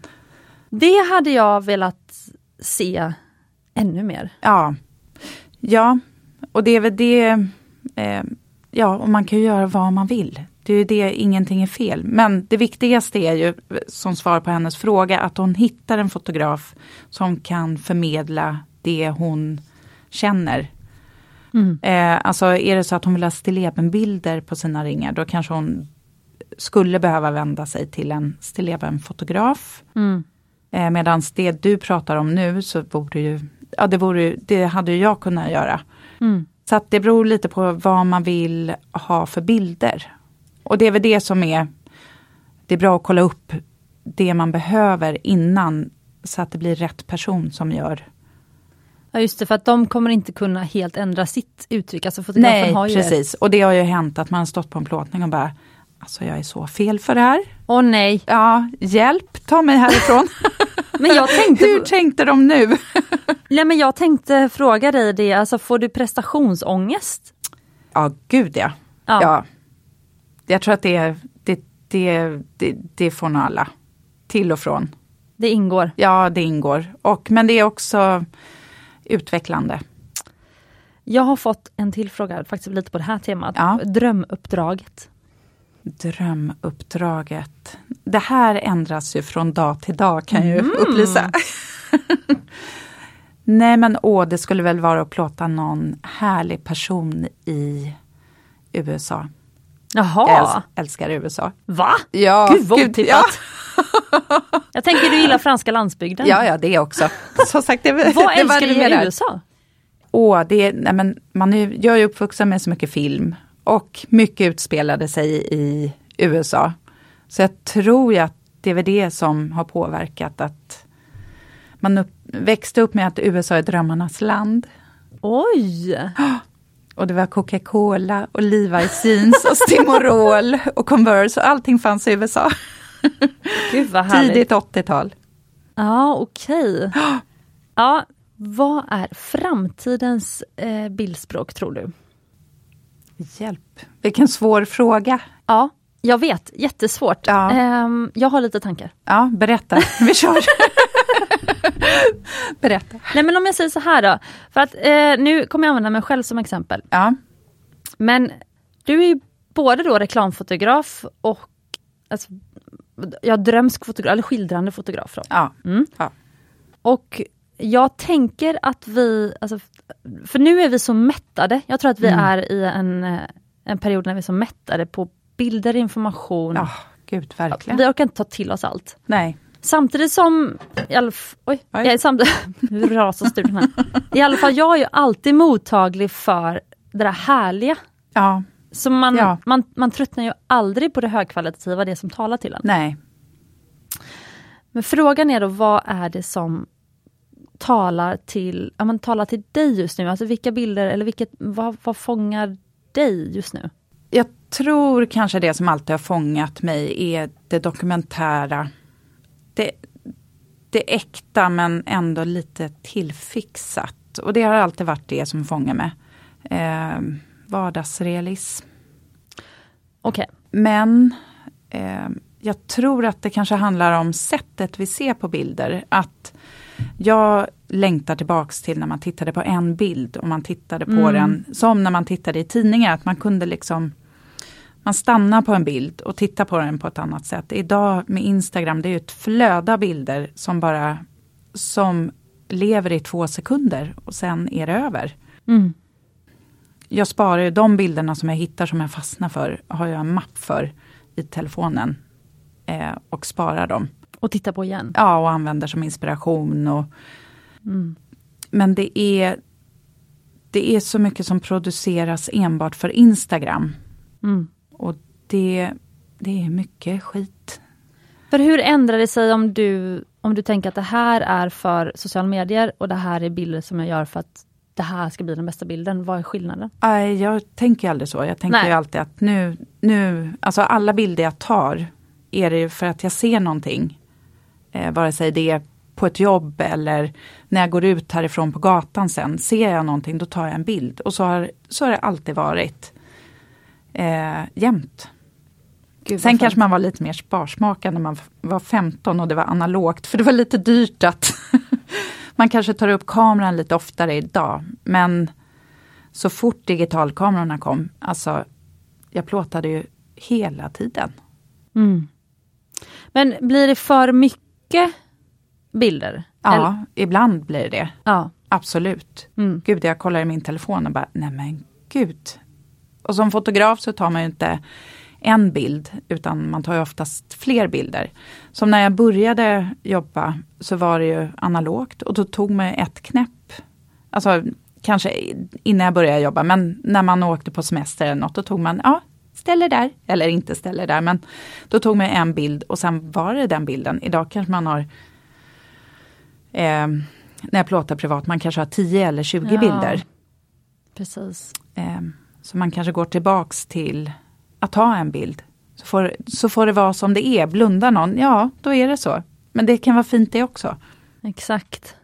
[SPEAKER 1] Det hade jag velat se ännu mer.
[SPEAKER 2] Ja. ja, och det är väl det, eh, ja, och man kan ju göra vad man vill. Det är ju det, ingenting är fel. Men det viktigaste är ju, som svar på hennes fråga, att hon hittar en fotograf som kan förmedla det hon känner.
[SPEAKER 1] Mm.
[SPEAKER 2] Eh, alltså är det så att hon vill ha stillebenbilder på sina ringar, då kanske hon skulle behöva vända sig till en stillebenfotograf.
[SPEAKER 1] Mm.
[SPEAKER 2] Eh, Medan det du pratar om nu så borde ju, ja det, borde, ju- det hade ju jag kunnat göra.
[SPEAKER 1] Mm.
[SPEAKER 2] Så att det beror lite på vad man vill ha för bilder. Och det är väl det som är, det är bra att kolla upp det man behöver innan så att det blir rätt person som gör.
[SPEAKER 1] Ja just det, för att de kommer inte kunna helt ändra sitt uttryck. Alltså fotografen har ju ett-
[SPEAKER 2] precis. Och det har ju hänt att man har stått på en plåtning och bara, alltså jag är så fel för det här.
[SPEAKER 1] Åh nej,
[SPEAKER 2] Ja, hjälp, ta mig härifrån.
[SPEAKER 1] men jag
[SPEAKER 2] Hur
[SPEAKER 1] tänkte,
[SPEAKER 2] tänkte de nu?
[SPEAKER 1] nej, men jag tänkte fråga dig det, alltså får du prestationsångest?
[SPEAKER 2] Ja, gud ja.
[SPEAKER 1] Ja.
[SPEAKER 2] ja. Jag tror att det, det, det, det, det får nog alla. Till och från.
[SPEAKER 1] Det ingår.
[SPEAKER 2] Ja, det ingår. Och, men det är också utvecklande.
[SPEAKER 1] Jag har fått en till fråga, faktiskt lite på det här temat.
[SPEAKER 2] Ja.
[SPEAKER 1] Drömuppdraget.
[SPEAKER 2] Drömuppdraget. Det här ändras ju från dag till dag kan jag ju
[SPEAKER 1] Mm.
[SPEAKER 2] upplysa. Nej men åh, det skulle väl vara att plåta någon härlig person i USA. Jag
[SPEAKER 1] Jaha,
[SPEAKER 2] äls- älskar USA.
[SPEAKER 1] va?
[SPEAKER 2] Ja,
[SPEAKER 1] Gud vad otippat.
[SPEAKER 2] ja.
[SPEAKER 1] Jag tänker du gillar franska landsbygden.
[SPEAKER 2] Ja, ja, det också. Som sagt, det,
[SPEAKER 1] Vad
[SPEAKER 2] det
[SPEAKER 1] älskar du
[SPEAKER 2] varierar.
[SPEAKER 1] med USA?
[SPEAKER 2] Åh, det är, nej men, man är, ju- jag är ju uppvuxen med så mycket film och mycket utspelade sig i USA. Så jag tror ju att det är väl det som har påverkat att man upp, växte upp med att USA är drömmarnas land.
[SPEAKER 1] Oj!
[SPEAKER 2] Och det var Coca-Cola och Levi's jeans och Stimorol och Converse och allting fanns i USA.
[SPEAKER 1] Gud vad härligt.
[SPEAKER 2] Tidigt 80-tal.
[SPEAKER 1] Ja, okej. Ja, vad är framtidens eh, bildspråk tror du?
[SPEAKER 2] Hjälp, vilken svår fråga.
[SPEAKER 1] Ja, jag vet, jättesvårt.
[SPEAKER 2] Ja.
[SPEAKER 1] Ehm, jag har lite tankar.
[SPEAKER 2] Ja, berätta. Vi kör. berätta.
[SPEAKER 1] Nej men om jag säger så här då, för att eh, nu kommer jag använda mig själv som exempel.
[SPEAKER 2] Ja,
[SPEAKER 1] Men du är ju både då reklamfotograf och alltså, ja, drömsk fotograf, eller skildrande fotograf. Då.
[SPEAKER 2] ja, ja.
[SPEAKER 1] Och jag tänker att vi, alltså, för nu är vi så mättade. Jag tror att
[SPEAKER 2] Mm.
[SPEAKER 1] vi är i en, eh, en period när vi är så mättade på bilder, information.
[SPEAKER 2] ja gud verkligen.
[SPEAKER 1] Vi orkar inte ta till oss allt.
[SPEAKER 2] Nej,
[SPEAKER 1] Samtidigt som, i alla, f- oj,
[SPEAKER 2] Oj.
[SPEAKER 1] jag är samt, nu rasar studion här. I alla fall, jag är ju alltid mottaglig för det där härliga.
[SPEAKER 2] Ja,
[SPEAKER 1] Så man,
[SPEAKER 2] Ja.
[SPEAKER 1] man, man tröttnar ju aldrig på det högkvalitativa, det som talar till en.
[SPEAKER 2] nej.
[SPEAKER 1] Men frågan är då, vad är det som talar till, ja, men talar till dig just nu? Alltså vilka bilder, eller vilket, vad, vad fångar dig just nu?
[SPEAKER 2] Jag tror kanske det som alltid har fångat mig är det dokumentära. Det, det äkta men ändå lite tillfixat. Och det har alltid varit det som fångar mig. Eh, vardagsrealism.
[SPEAKER 1] Okej,
[SPEAKER 2] Men eh, jag tror att det kanske handlar om sättet vi ser på bilder. Att jag längtar tillbaks till när man tittade på en bild och man tittade på
[SPEAKER 1] Mm.
[SPEAKER 2] den som när man tittade i tidningar. Att man kunde liksom man stannar på en bild och tittar på den på ett annat sätt. Idag med Instagram, det är ju ett flöde av bilder som bara som lever i två sekunder och sen är det över
[SPEAKER 1] mm.
[SPEAKER 2] jag sparar ju de bilderna som jag hittar som jag fastnar för, har jag en mapp för i telefonen. Eh, och sparar dem.
[SPEAKER 1] och titta på igen.
[SPEAKER 2] Ja, och använder som inspiration. Och,
[SPEAKER 1] Mm.
[SPEAKER 2] men det är, det är så mycket som produceras enbart för Instagram.
[SPEAKER 1] Mm.
[SPEAKER 2] Och det, det är mycket skit.
[SPEAKER 1] För hur ändrar det sig om du, om du tänker att det här är för sociala medier och det här är bilder som jag gör för att det här ska bli den bästa bilden. Vad är skillnaden?
[SPEAKER 2] Nej, jag tänker ju aldrig så. Jag tänker
[SPEAKER 1] Nej.
[SPEAKER 2] ju alltid att nu, nu, alltså alla bilder jag tar är det ju för att jag ser någonting. Eh, vare sig det är på ett jobb eller när jag går ut härifrån på gatan sen. Ser jag någonting då tar jag en bild. Och så har, så har det alltid varit. Eh, jämt.
[SPEAKER 1] Gud,
[SPEAKER 2] Sen
[SPEAKER 1] vad
[SPEAKER 2] kanske man var lite mer sparsmakad när man f- var 15 och det var analogt. För det var lite dyrt att man kanske tar upp kameran lite oftare idag. Men så fort digitalkamerorna kom, alltså jag plåtade ju hela tiden.
[SPEAKER 1] Mm. Men blir det för mycket bilder?
[SPEAKER 2] Ja,
[SPEAKER 1] Eller-
[SPEAKER 2] ibland blir det
[SPEAKER 1] ja.
[SPEAKER 2] absolut.
[SPEAKER 1] Mm.
[SPEAKER 2] Gud, jag kollar i min telefon och bara, nej men gud. Och som fotograf så tar man ju inte en bild, utan man tar ju oftast fler bilder. Som när jag började jobba så var det ju analogt och då tog man ju ett knäpp. Alltså kanske i- innan jag började jobba, men när man åkte på semester eller något, då tog man, ja, ställer där, eller inte ställer där, men då tog man en bild och sen var det den bilden. Idag kanske man har eh, när jag plåtar privat, man kanske har 10 eller 20
[SPEAKER 1] Ja.
[SPEAKER 2] bilder.
[SPEAKER 1] Precis.
[SPEAKER 2] Eh, så man kanske går tillbaks till att ha en bild. Så får, så får det vara som det är, blundar någon, ja då är det så. Men det kan vara fint det också.
[SPEAKER 1] Exakt.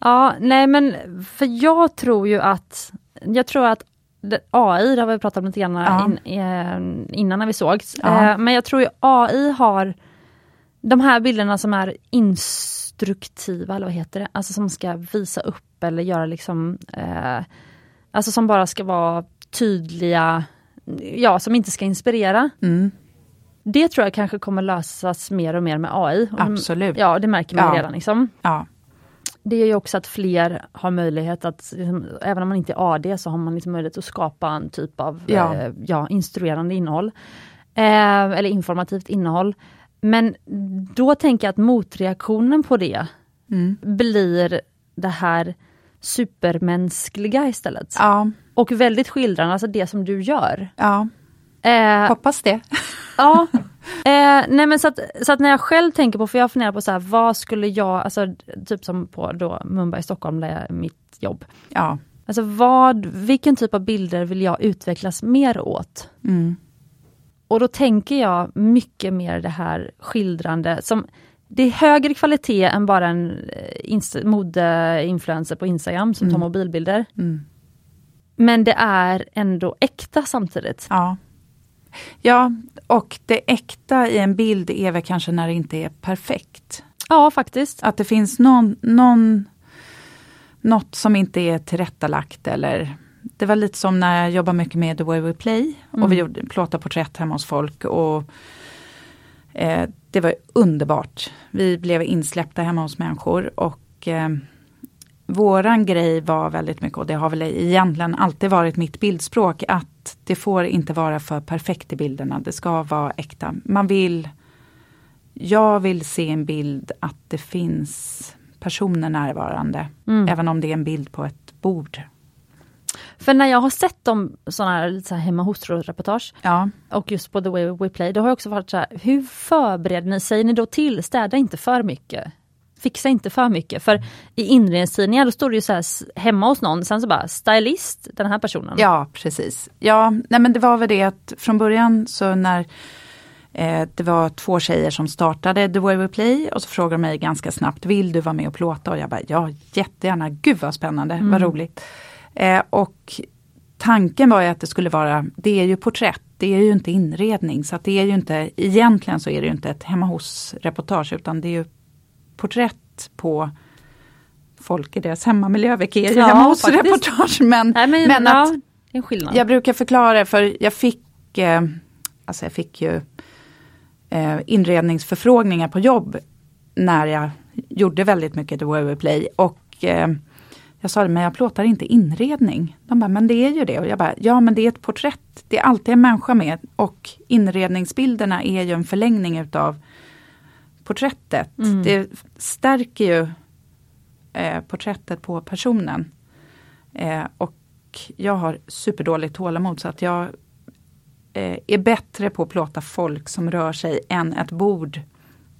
[SPEAKER 1] Ja, nej men för jag tror ju att, jag tror att det- AI, det har vi pratat om lite grann
[SPEAKER 2] Ja.
[SPEAKER 1] in, eh, innan när vi sågs,
[SPEAKER 2] Ja.
[SPEAKER 1] eh, men jag tror ju AI har de här bilderna som är instruktiva, eller vad heter det, alltså som ska visa upp eller göra liksom, eh, alltså som bara ska vara tydliga, ja som inte ska inspirera.
[SPEAKER 2] Mm,
[SPEAKER 1] Det tror jag kanske kommer lösas mer och mer med AI. Och-
[SPEAKER 2] absolut. Ja.
[SPEAKER 1] Ja, det märker man ju
[SPEAKER 2] Ja.
[SPEAKER 1] redan liksom.
[SPEAKER 2] Ja.
[SPEAKER 1] Det gör ju också att fler har möjlighet att, liksom, även om man inte är AD, så har man liksom möjlighet att skapa en typ av
[SPEAKER 2] Ja.
[SPEAKER 1] Eh, ja, instruerande innehåll. Eh, eller informativt innehåll. Men då tänker jag att motreaktionen på det
[SPEAKER 2] Mm.
[SPEAKER 1] blir det här supermänskliga istället.
[SPEAKER 2] ja,
[SPEAKER 1] Och väldigt skildrande, alltså det som du gör.
[SPEAKER 2] ja,
[SPEAKER 1] Eh,
[SPEAKER 2] hoppas det.
[SPEAKER 1] Ja. Eh, nej men så att, så att när jag själv tänker på, för jag funderar på så här, vad skulle jag, alltså typ som på då Mumbai, Stockholm, där jag, mitt jobb.
[SPEAKER 2] Ja,
[SPEAKER 1] Alltså vad, vilken typ av bilder vill jag utvecklas mer åt?
[SPEAKER 2] mm.
[SPEAKER 1] Och då tänker jag mycket mer det här skildrande som, det är högre kvalitet än bara en eh, inst- modeinfluencer på Instagram som tar
[SPEAKER 2] Mm.
[SPEAKER 1] mobilbilder.
[SPEAKER 2] Mm.
[SPEAKER 1] Men det är ändå äkta samtidigt.
[SPEAKER 2] ja. Ja, och det äkta i en bild är väl kanske när det inte är perfekt.
[SPEAKER 1] Ja, faktiskt.
[SPEAKER 2] Att det finns någon, någon, något som inte är tillrättalagt eller det var lite som när jag jobbade mycket med The Way We Play
[SPEAKER 1] Mm.
[SPEAKER 2] och vi gjorde, plåtade porträtt hemma hos folk och eh, det var underbart. Vi blev insläppta hemma hos människor och eh, våran grej var väldigt mycket, och det har väl egentligen alltid varit mitt bildspråk, att det får inte vara för perfekt i bilderna, det ska vara äkta. Man vill Jag vill se en bild att det finns personer närvarande.
[SPEAKER 1] Mm.
[SPEAKER 2] Även om det är en bild på ett bord.
[SPEAKER 1] För när jag har sett de sådana här, lite så här hemma hos-reportage
[SPEAKER 2] Ja.
[SPEAKER 1] och just på The Way We Play, då har jag också varit så här, hur förbereder ni, säger ni då till, städa inte för mycket? Fixa inte för mycket, för i inredningstidningar då står det ju så här, s- hemma hos någon, sen så bara stylist, den här personen.
[SPEAKER 2] Ja, precis. Ja, nej men det var väl det att från början så när eh, det var två tjejer som startade The Way We Play och så frågade de mig ganska snabbt, vill du vara med och plåta? Och jag bara, ja jättegärna, gud vad spännande, vad
[SPEAKER 1] Mm.
[SPEAKER 2] roligt. Eh, och tanken var ju att det skulle vara, det är ju porträtt, det är ju inte inredning, så att det är ju inte, egentligen så är det ju inte ett hemma hos-reportage utan det är ju porträtt på folk i deras hemmamiljö, vilket är ju
[SPEAKER 1] Ja,
[SPEAKER 2] hemma hos-reportage.
[SPEAKER 1] faktiskt.
[SPEAKER 2] Men,
[SPEAKER 1] Nej, men,
[SPEAKER 2] men
[SPEAKER 1] ja,
[SPEAKER 2] att
[SPEAKER 1] det är en skillnad.
[SPEAKER 2] jag brukar förklara för jag fick, eh, alltså jag fick ju eh, inredningsförfrågningar på jobb när jag gjorde väldigt mycket The Way We Play och eh, jag sa det, men jag plåtar inte inredning. De bara, men det är ju det. Och jag bara, ja men det är ett porträtt. Det är alltid en människa med och inredningsbilderna är ju en förlängning utav porträttet.
[SPEAKER 1] Mm.
[SPEAKER 2] Det stärker ju eh, porträttet på personen. Eh, och jag har superdåligt tålamod så att jag eh, är bättre på att plåta folk som rör sig än ett bord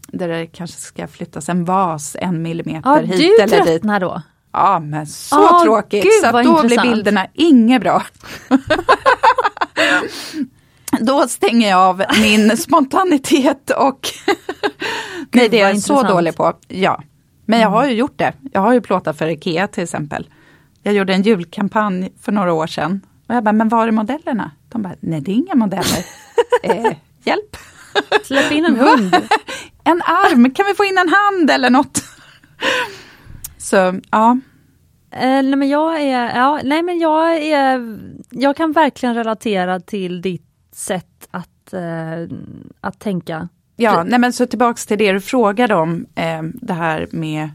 [SPEAKER 2] där det kanske ska flyttas en vas en millimeter
[SPEAKER 1] ja,
[SPEAKER 2] hit
[SPEAKER 1] du
[SPEAKER 2] eller dit.
[SPEAKER 1] tröttnar då?
[SPEAKER 2] Ja men så
[SPEAKER 1] Åh,
[SPEAKER 2] tråkigt
[SPEAKER 1] gud,
[SPEAKER 2] så att då
[SPEAKER 1] vad
[SPEAKER 2] blir
[SPEAKER 1] intressant.
[SPEAKER 2] bilderna inget bra. då stänger jag av min spontanitet och Nej det är
[SPEAKER 1] vad
[SPEAKER 2] jag så
[SPEAKER 1] intressant. Mm.
[SPEAKER 2] dålig på. Ja. Men jag har ju gjort det. Jag har ju plåtat för IKEA till exempel. Jag gjorde en julkampanj för några år sedan. Och jag bara, men var är modellerna? De bara, nej det är inga modeller. eh, hjälp!
[SPEAKER 1] Släpp in en hund.
[SPEAKER 2] En arm, kan vi få in en hand eller något? så ja.
[SPEAKER 1] Eh, nej men jag är, ja, nej men jag är, jag kan verkligen relatera till ditt sätt att, eh, att tänka.
[SPEAKER 2] Ja, nej men så tillbaks till det du frågade om, eh, det här med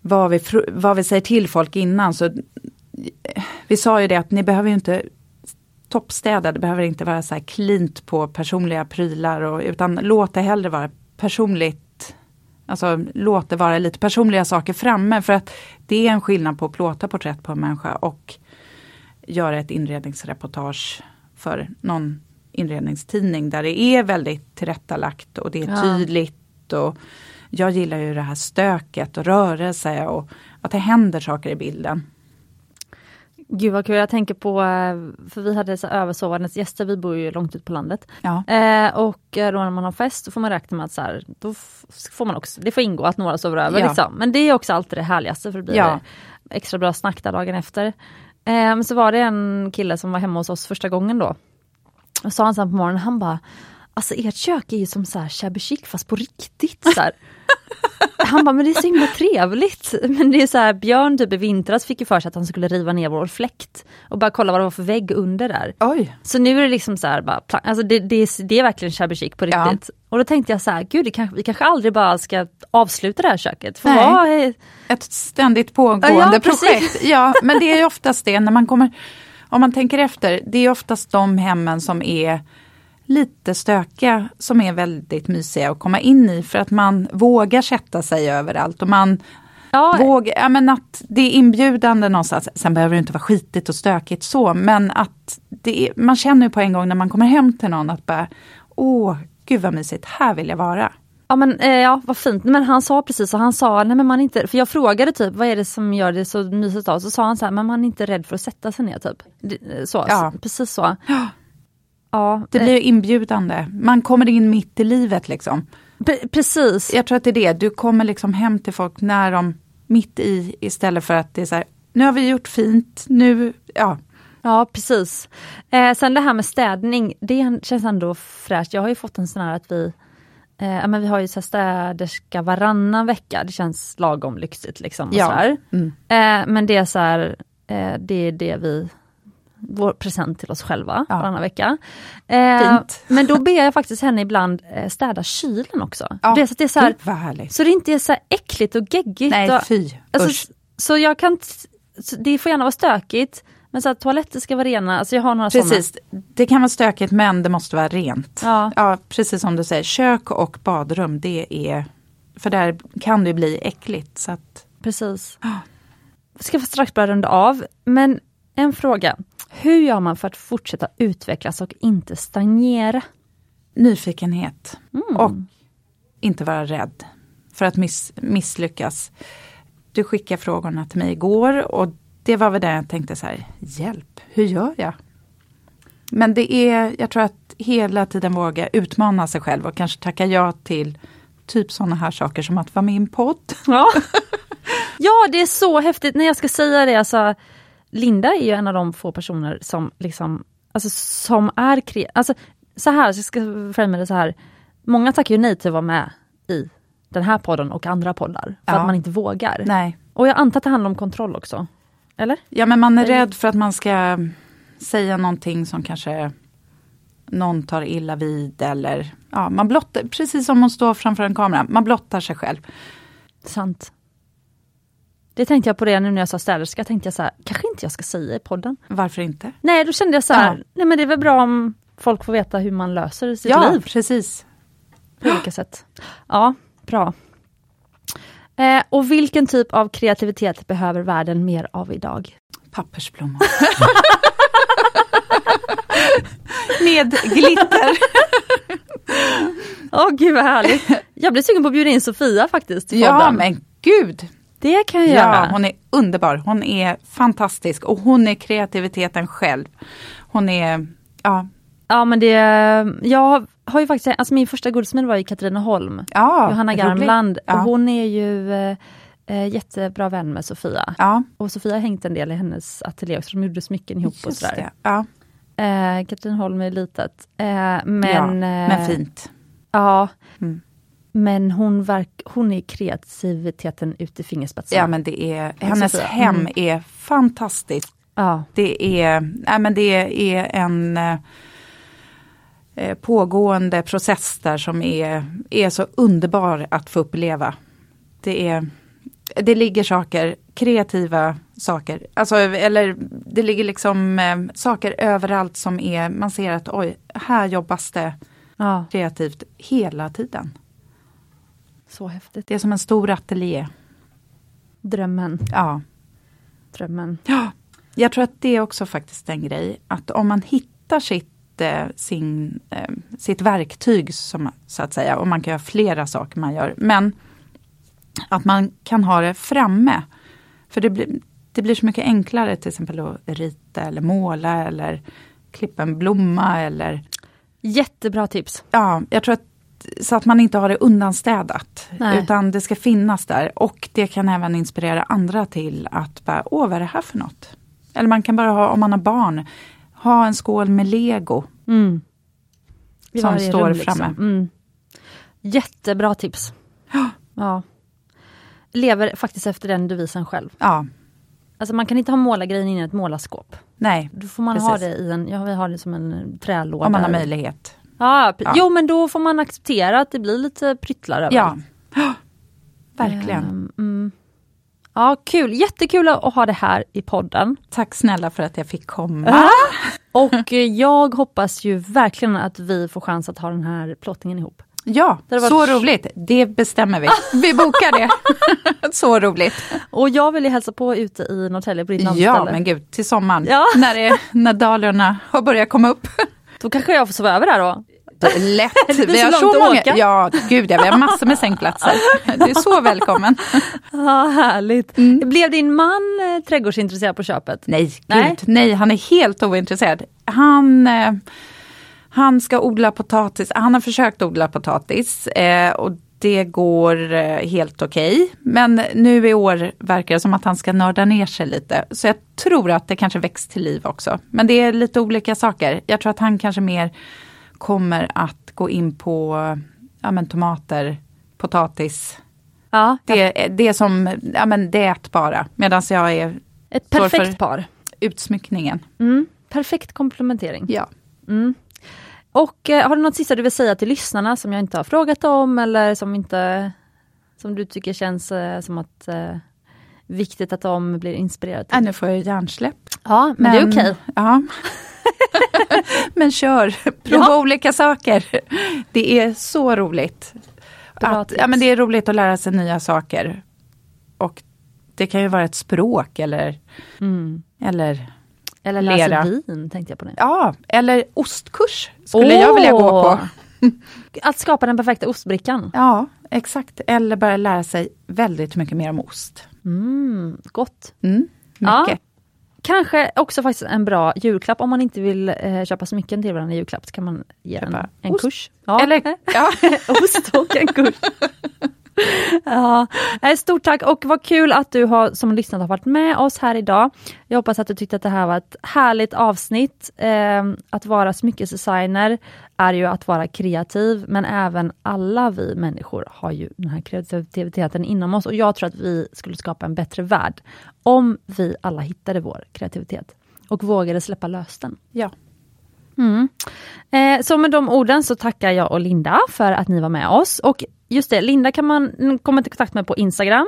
[SPEAKER 2] vad vi, fr- vad vi säger till folk innan. Så, eh, vi sa ju det att ni behöver ju inte toppstäda, det behöver inte vara så här cleant på personliga prylar, och, utan låt det hellre vara personligt, alltså låt det vara lite personliga saker framme, för att det är en skillnad på att plåta porträtt på en människa och göra ett inredningsreportage för någon inredningstidning där det är väldigt tillrättalagt och det är
[SPEAKER 1] Ja.
[SPEAKER 2] tydligt. Och jag gillar ju det här stöket och rörelse och att det händer saker i bilden.
[SPEAKER 1] Gud vad kul, jag tänker på, eh, för vi hade så här översovandes gäster, vi bor ju långt ut på landet.
[SPEAKER 2] Ja.
[SPEAKER 1] Eh, och eh, då när man har fest så får man räkna med att så här, då f- får man också, det får ingå att några sover över.
[SPEAKER 2] Ja.
[SPEAKER 1] Liksom. Men det är också alltid det härligaste för det blir
[SPEAKER 2] Ja.
[SPEAKER 1] extra bra snack där dagen efter. Eh, men så var det en kille som var hemma hos oss första gången då. Och sa han sen på morgonen, han bara, alltså ert kök är ju som så här shabby chic fast på riktigt. Så här. Han bara, men det är så himla trevligt. Men det är så här, Björn typ i vintras fick ju för sig att han skulle riva ner vår fläkt och bara kolla vad det var för vägg under där.
[SPEAKER 2] Oj,
[SPEAKER 1] Så nu är det liksom så här, bara, pla- alltså det, det, är, det är verkligen shabby chic på
[SPEAKER 2] Ja.
[SPEAKER 1] riktigt. Och då tänkte jag så här, gud det kanske, vi kanske aldrig bara ska avsluta det här köket. För
[SPEAKER 2] Nej.
[SPEAKER 1] vad är,
[SPEAKER 2] ett ständigt pågående
[SPEAKER 1] Ja, ja,
[SPEAKER 2] projekt. Ja, men det är ju oftast det när man kommer, om man tänker efter, det är oftast de hemmen som är lite stökiga som är väldigt mysiga att komma in i för att man vågar sätta sig överallt och man
[SPEAKER 1] ja,
[SPEAKER 2] Våg, ja, men att det är inbjudande någonstans. Sen behöver det inte vara skitigt och stökigt så, men att det är, man känner ju på en gång när man kommer hem till någon att bara, åh, gud vad mysigt, här vill jag vara.
[SPEAKER 1] Ja men eh, ja, vad fint. Men han sa precis så, han sa, nej men man är inte, för jag frågade typ vad är det som gör det så mysigt av? Så sa han så här, men man är inte rädd för att sätta sig ner typ. Det- Så,
[SPEAKER 2] Ja.
[SPEAKER 1] så precis så. Ja,
[SPEAKER 2] Det
[SPEAKER 1] eh,
[SPEAKER 2] blir ju inbjudande, man kommer in mitt i livet liksom.
[SPEAKER 1] pre- precis.
[SPEAKER 2] Jag tror att det är det, du kommer liksom hem till folk när de, mitt i, istället för att det är så här, nu har vi gjort fint, nu, ja.
[SPEAKER 1] Ja, precis. Eh, sen det här med städning, det en- känns ändå fräscht. Jag har ju fått en sån här att vi, eh, ja, men vi har ju så här städerska varannan vecka. Det känns lagom lyxigt liksom. Och
[SPEAKER 2] Ja.
[SPEAKER 1] så här.
[SPEAKER 2] Mm.
[SPEAKER 1] Eh, men det är så här, eh, det är det vi, vår present till oss själva
[SPEAKER 2] Ja.
[SPEAKER 1] varannan vecka. Eh,
[SPEAKER 2] Fint.
[SPEAKER 1] men då ber jag faktiskt henne ibland eh, städa kylen också.
[SPEAKER 2] Ja.
[SPEAKER 1] Det är så, att det är så, här,
[SPEAKER 2] Gud vad härligt.
[SPEAKER 1] så det inte är så här äckligt och geggigt.
[SPEAKER 2] Nej,
[SPEAKER 1] och,
[SPEAKER 2] fy, usch.
[SPEAKER 1] Alltså, så jag kan, t- så det får gärna vara stökigt, Men så att toaletter ska vara rena, alltså jag har några sådana.
[SPEAKER 2] Precis, det kan vara stökigt men det måste vara rent.
[SPEAKER 1] Ja.
[SPEAKER 2] precis som du säger, kök och badrum det är, för där kan det ju bli äckligt. Så att,
[SPEAKER 1] Precis. Vi ska få strax börja runda av, men en fråga. Hur gör man för att fortsätta utvecklas och inte stagnera?
[SPEAKER 2] nyfikenhet och inte vara rädd för att miss, misslyckas. Du skickade frågorna till mig igår och det var väl där jag tänkte så här, hjälp, hur gör jag? Men det är, jag tror att hela tiden våga utmana sig själv och kanske tacka ja till typ sådana här saker som att vara med i en podd.
[SPEAKER 1] Ja. ja, det är så häftigt. När jag ska säga det, alltså, Linda är ju en av de få personer som liksom, alltså, som är kreativ. Alltså, så här, så jag ska framhäva det så här. Många tackar ju nej till att vara med i den här podden och andra poddar, för
[SPEAKER 2] Ja.
[SPEAKER 1] att man inte vågar.
[SPEAKER 2] Nej.
[SPEAKER 1] Och jag antar att det handlar om kontroll också? Eller?
[SPEAKER 2] Ja men man är rädd för att man ska säga någonting som kanske någon tar illa vid eller ja, man blottar, precis som man står framför en kamera, man blottar sig själv.
[SPEAKER 1] Sant. Det tänkte jag på det nu när jag sa städerska, tänkte jag så här, kanske inte jag ska säga i podden.
[SPEAKER 2] Varför inte?
[SPEAKER 1] Nej, då kände jag så här,
[SPEAKER 2] Ja.
[SPEAKER 1] nej men det är väl bra om folk får veta hur man löser sitt
[SPEAKER 2] ja,
[SPEAKER 1] liv.
[SPEAKER 2] precis.
[SPEAKER 1] på olika sätt. Ja, bra. Eh, och vilken typ av kreativitet behöver världen mer av idag?
[SPEAKER 2] Pappersblomma. Med glitter.
[SPEAKER 1] Åh gud vad härligt! Jag blir sugen på att bjuda in Sofia faktiskt till
[SPEAKER 2] Ja
[SPEAKER 1] podden.
[SPEAKER 2] men gud.
[SPEAKER 1] Det kan jag
[SPEAKER 2] Ja,
[SPEAKER 1] göra.
[SPEAKER 2] hon är underbar. Hon är fantastisk och hon är kreativiteten själv. Hon är, ja,
[SPEAKER 1] Ja men det, jag har ju faktiskt, alltså min första guldsmed var i Katrineholm,
[SPEAKER 2] ja
[SPEAKER 1] Johanna
[SPEAKER 2] rolig.
[SPEAKER 1] Garmland,
[SPEAKER 2] Ja.
[SPEAKER 1] och hon är ju eh, eh, jättebra vän med Sofia.
[SPEAKER 2] Ja,
[SPEAKER 1] Och Sofia har hängt en del i hennes ateljé också, de gjorde smycken ihop och
[SPEAKER 2] just
[SPEAKER 1] sådär.
[SPEAKER 2] det. Ja,
[SPEAKER 1] Eh, Katrineholm är litet. Eh, men,
[SPEAKER 2] ja, men
[SPEAKER 1] eh,
[SPEAKER 2] fint.
[SPEAKER 1] Ja.
[SPEAKER 2] Mm.
[SPEAKER 1] Men hon, verk, hon är kreativiteten ut i fingerspetsarna.
[SPEAKER 2] Ja men det är, hennes
[SPEAKER 1] Sofia.
[SPEAKER 2] hem
[SPEAKER 1] Mm.
[SPEAKER 2] är fantastiskt.
[SPEAKER 1] Ja.
[SPEAKER 2] Det är, nej men det är en eh, eh, pågående process där som är, är så underbar att få uppleva. Det, är, det ligger saker, kreativa saker, alltså, eller det ligger liksom eh, saker överallt som är, man ser att oj, här jobbas det
[SPEAKER 1] ja,
[SPEAKER 2] kreativt hela tiden.
[SPEAKER 1] så häftigt.
[SPEAKER 2] Det är som en stor ateljé.
[SPEAKER 1] Drömmen,
[SPEAKER 2] Ja.
[SPEAKER 1] drömmen.
[SPEAKER 2] Ja, jag tror att det är också faktiskt en grej, att om man hittar sitt, eh, sin, eh, sitt verktyg, som, så att säga, och man kan göra flera saker man gör, men att man kan ha det framme. För det blir, det blir så mycket enklare till exempel att rita eller måla eller klippa en blomma eller
[SPEAKER 1] Jättebra tips.
[SPEAKER 2] Ja, jag tror att så att man inte har det undanstädat.
[SPEAKER 1] Nej.
[SPEAKER 2] Utan det ska finnas där och det kan även inspirera andra till att bara, åh vad är det här för något? Eller man kan bara ha, om man har barn, ha en skål med lego.
[SPEAKER 1] Mm. I
[SPEAKER 2] Som
[SPEAKER 1] varje
[SPEAKER 2] står framme.
[SPEAKER 1] Mm. Jättebra tips.
[SPEAKER 2] Ja.
[SPEAKER 1] Ja. Lever faktiskt efter den devisen själv.
[SPEAKER 2] Ja,
[SPEAKER 1] Alltså man kan inte ha målargrejen inne i ett målarskåp.
[SPEAKER 2] nej,
[SPEAKER 1] Då får man
[SPEAKER 2] Precis.
[SPEAKER 1] ha det i en, ja vi har det som en trälåda.
[SPEAKER 2] om man har möjlighet.
[SPEAKER 1] Ja, pre-
[SPEAKER 2] Ja.
[SPEAKER 1] Jo men då får man acceptera att det blir lite pryttlar överallt.
[SPEAKER 2] Ja, Ja, verkligen.
[SPEAKER 1] Ehm, Mm. Ja, kul. Jättekul att ha det här i podden.
[SPEAKER 2] Tack snälla för att jag fick komma.
[SPEAKER 1] Och eh, jag hoppas ju verkligen att vi får chans att ha den här plåtningen ihop.
[SPEAKER 2] Ja,
[SPEAKER 1] Det har varit-
[SPEAKER 2] så roligt. Det bestämmer vi. Vi bokar det. så roligt.
[SPEAKER 1] Och jag vill ju hälsa på ute i Norrtälje på ditt
[SPEAKER 2] Ja,
[SPEAKER 1] namnsställe.
[SPEAKER 2] men gud, till sommaren.
[SPEAKER 1] Ja.
[SPEAKER 2] När, det, när dalarna har börjat komma upp.
[SPEAKER 1] Då kanske jag får sova över där då.
[SPEAKER 2] Det är Lätt.
[SPEAKER 1] blir
[SPEAKER 2] Vi
[SPEAKER 1] så
[SPEAKER 2] har
[SPEAKER 1] långt
[SPEAKER 2] så
[SPEAKER 1] att
[SPEAKER 2] många.
[SPEAKER 1] åka.
[SPEAKER 2] Ja, gud ja, vi har massor med sängplatser. Du är så välkommen.
[SPEAKER 1] Ja, härligt. Mm. Blev din man eh, trädgårdsintresserad på köpet?
[SPEAKER 2] Nej, gud,
[SPEAKER 1] Nej.
[SPEAKER 2] nej, han är helt ointresserad. Han, eh, han ska odla potatis, han har försökt odla potatis eh, och det går eh, helt okej. Men nu i år verkar det som att han ska nörda ner sig lite. Så jag tror att det kanske väcks till liv också. Men det är lite olika saker. Jag tror att han kanske mer kommer att gå in på ja, men tomater, potatis.
[SPEAKER 1] Ja,
[SPEAKER 2] Det, det är som, ja men det är ätbara. Medan jag är
[SPEAKER 1] ett
[SPEAKER 2] Står
[SPEAKER 1] perfekt
[SPEAKER 2] för-
[SPEAKER 1] par.
[SPEAKER 2] utsmyckningen.
[SPEAKER 1] Mm. Perfekt komplementering.
[SPEAKER 2] Ja.
[SPEAKER 1] Mm. Och eh, har du något sista du vill säga till lyssnarna som jag inte har frågat om eller som inte som du tycker känns eh, som att eh, viktigt att de blir inspirerade?
[SPEAKER 2] Äh,
[SPEAKER 1] till?
[SPEAKER 2] nu får jag hjärnsläpp.
[SPEAKER 1] Ja, men, det är okej.
[SPEAKER 2] Ja. men kör, prova olika saker. Det är så roligt.
[SPEAKER 1] Bra
[SPEAKER 2] Att,
[SPEAKER 1] tips.
[SPEAKER 2] ja, men det är roligt att lära sig nya saker. Och det kan ju vara ett språk eller,
[SPEAKER 1] Mm.
[SPEAKER 2] eller,
[SPEAKER 1] Eller läsa
[SPEAKER 2] Lera.
[SPEAKER 1] vin, tänkte jag på nu.
[SPEAKER 2] ja, eller ostkurs skulle jag
[SPEAKER 1] Åh!
[SPEAKER 2] vilja gå på.
[SPEAKER 1] Att skapa den perfekta ostbrickan.
[SPEAKER 2] Ja, exakt. Eller bara lära sig väldigt mycket mer om ost.
[SPEAKER 1] Mm, gott.
[SPEAKER 2] Mm,
[SPEAKER 1] Ja.
[SPEAKER 2] mycket.
[SPEAKER 1] Kanske också faktiskt en bra julklapp om man inte vill eh, köpa smycken till varandra i julklapp. Så kan man ge en,
[SPEAKER 2] Köpa
[SPEAKER 1] en
[SPEAKER 2] ost.
[SPEAKER 1] kurs. Ja.
[SPEAKER 2] Eller, ja.
[SPEAKER 1] ost och en kurs. Ja, nej, stort tack och vad kul att du har, som lyssnat har varit med oss här idag. Jag hoppas att du tyckte att det här var ett härligt avsnitt. Ehm, att vara smyckesdesigner är ju att vara kreativ, men även alla vi människor har ju den här kreativiteten inom oss och jag tror att vi skulle skapa en bättre värld om vi alla hittade vår kreativitet och vågade släppa lös den.
[SPEAKER 2] ja.
[SPEAKER 1] Mm. Eh, så med de orden så tackar jag och Linda för att ni var med oss. Och just det, Linda kan man komma i kontakt med på Instagram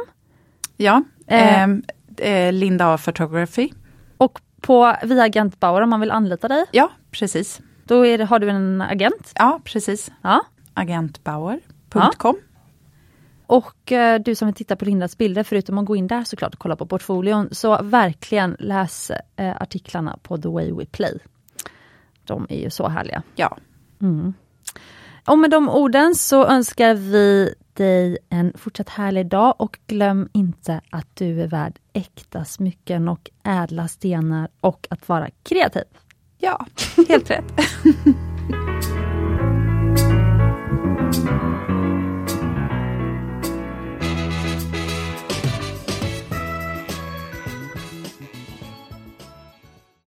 [SPEAKER 2] ja.
[SPEAKER 1] Eh.
[SPEAKER 2] Ehm, eh, Linda A Photography.
[SPEAKER 1] och på, via Agent Bauer om man vill anlita dig.
[SPEAKER 2] Ja, precis.
[SPEAKER 1] Då är det, har du en agent.
[SPEAKER 2] Ja, precis.
[SPEAKER 1] Ja.
[SPEAKER 2] Agentbauer.com.
[SPEAKER 1] Och eh, du som vill titta på Lindas bilder, förutom att gå in där såklart och kolla på portfolion, så verkligen läs eh, artiklarna på The Way We Play. De är ju så härliga. Mm.
[SPEAKER 2] Ja.
[SPEAKER 1] Och med de orden så önskar vi dig en fortsatt härlig dag och glöm inte att du är värd äkta smycken och ädla stenar och att vara kreativ.
[SPEAKER 2] ja, helt rätt.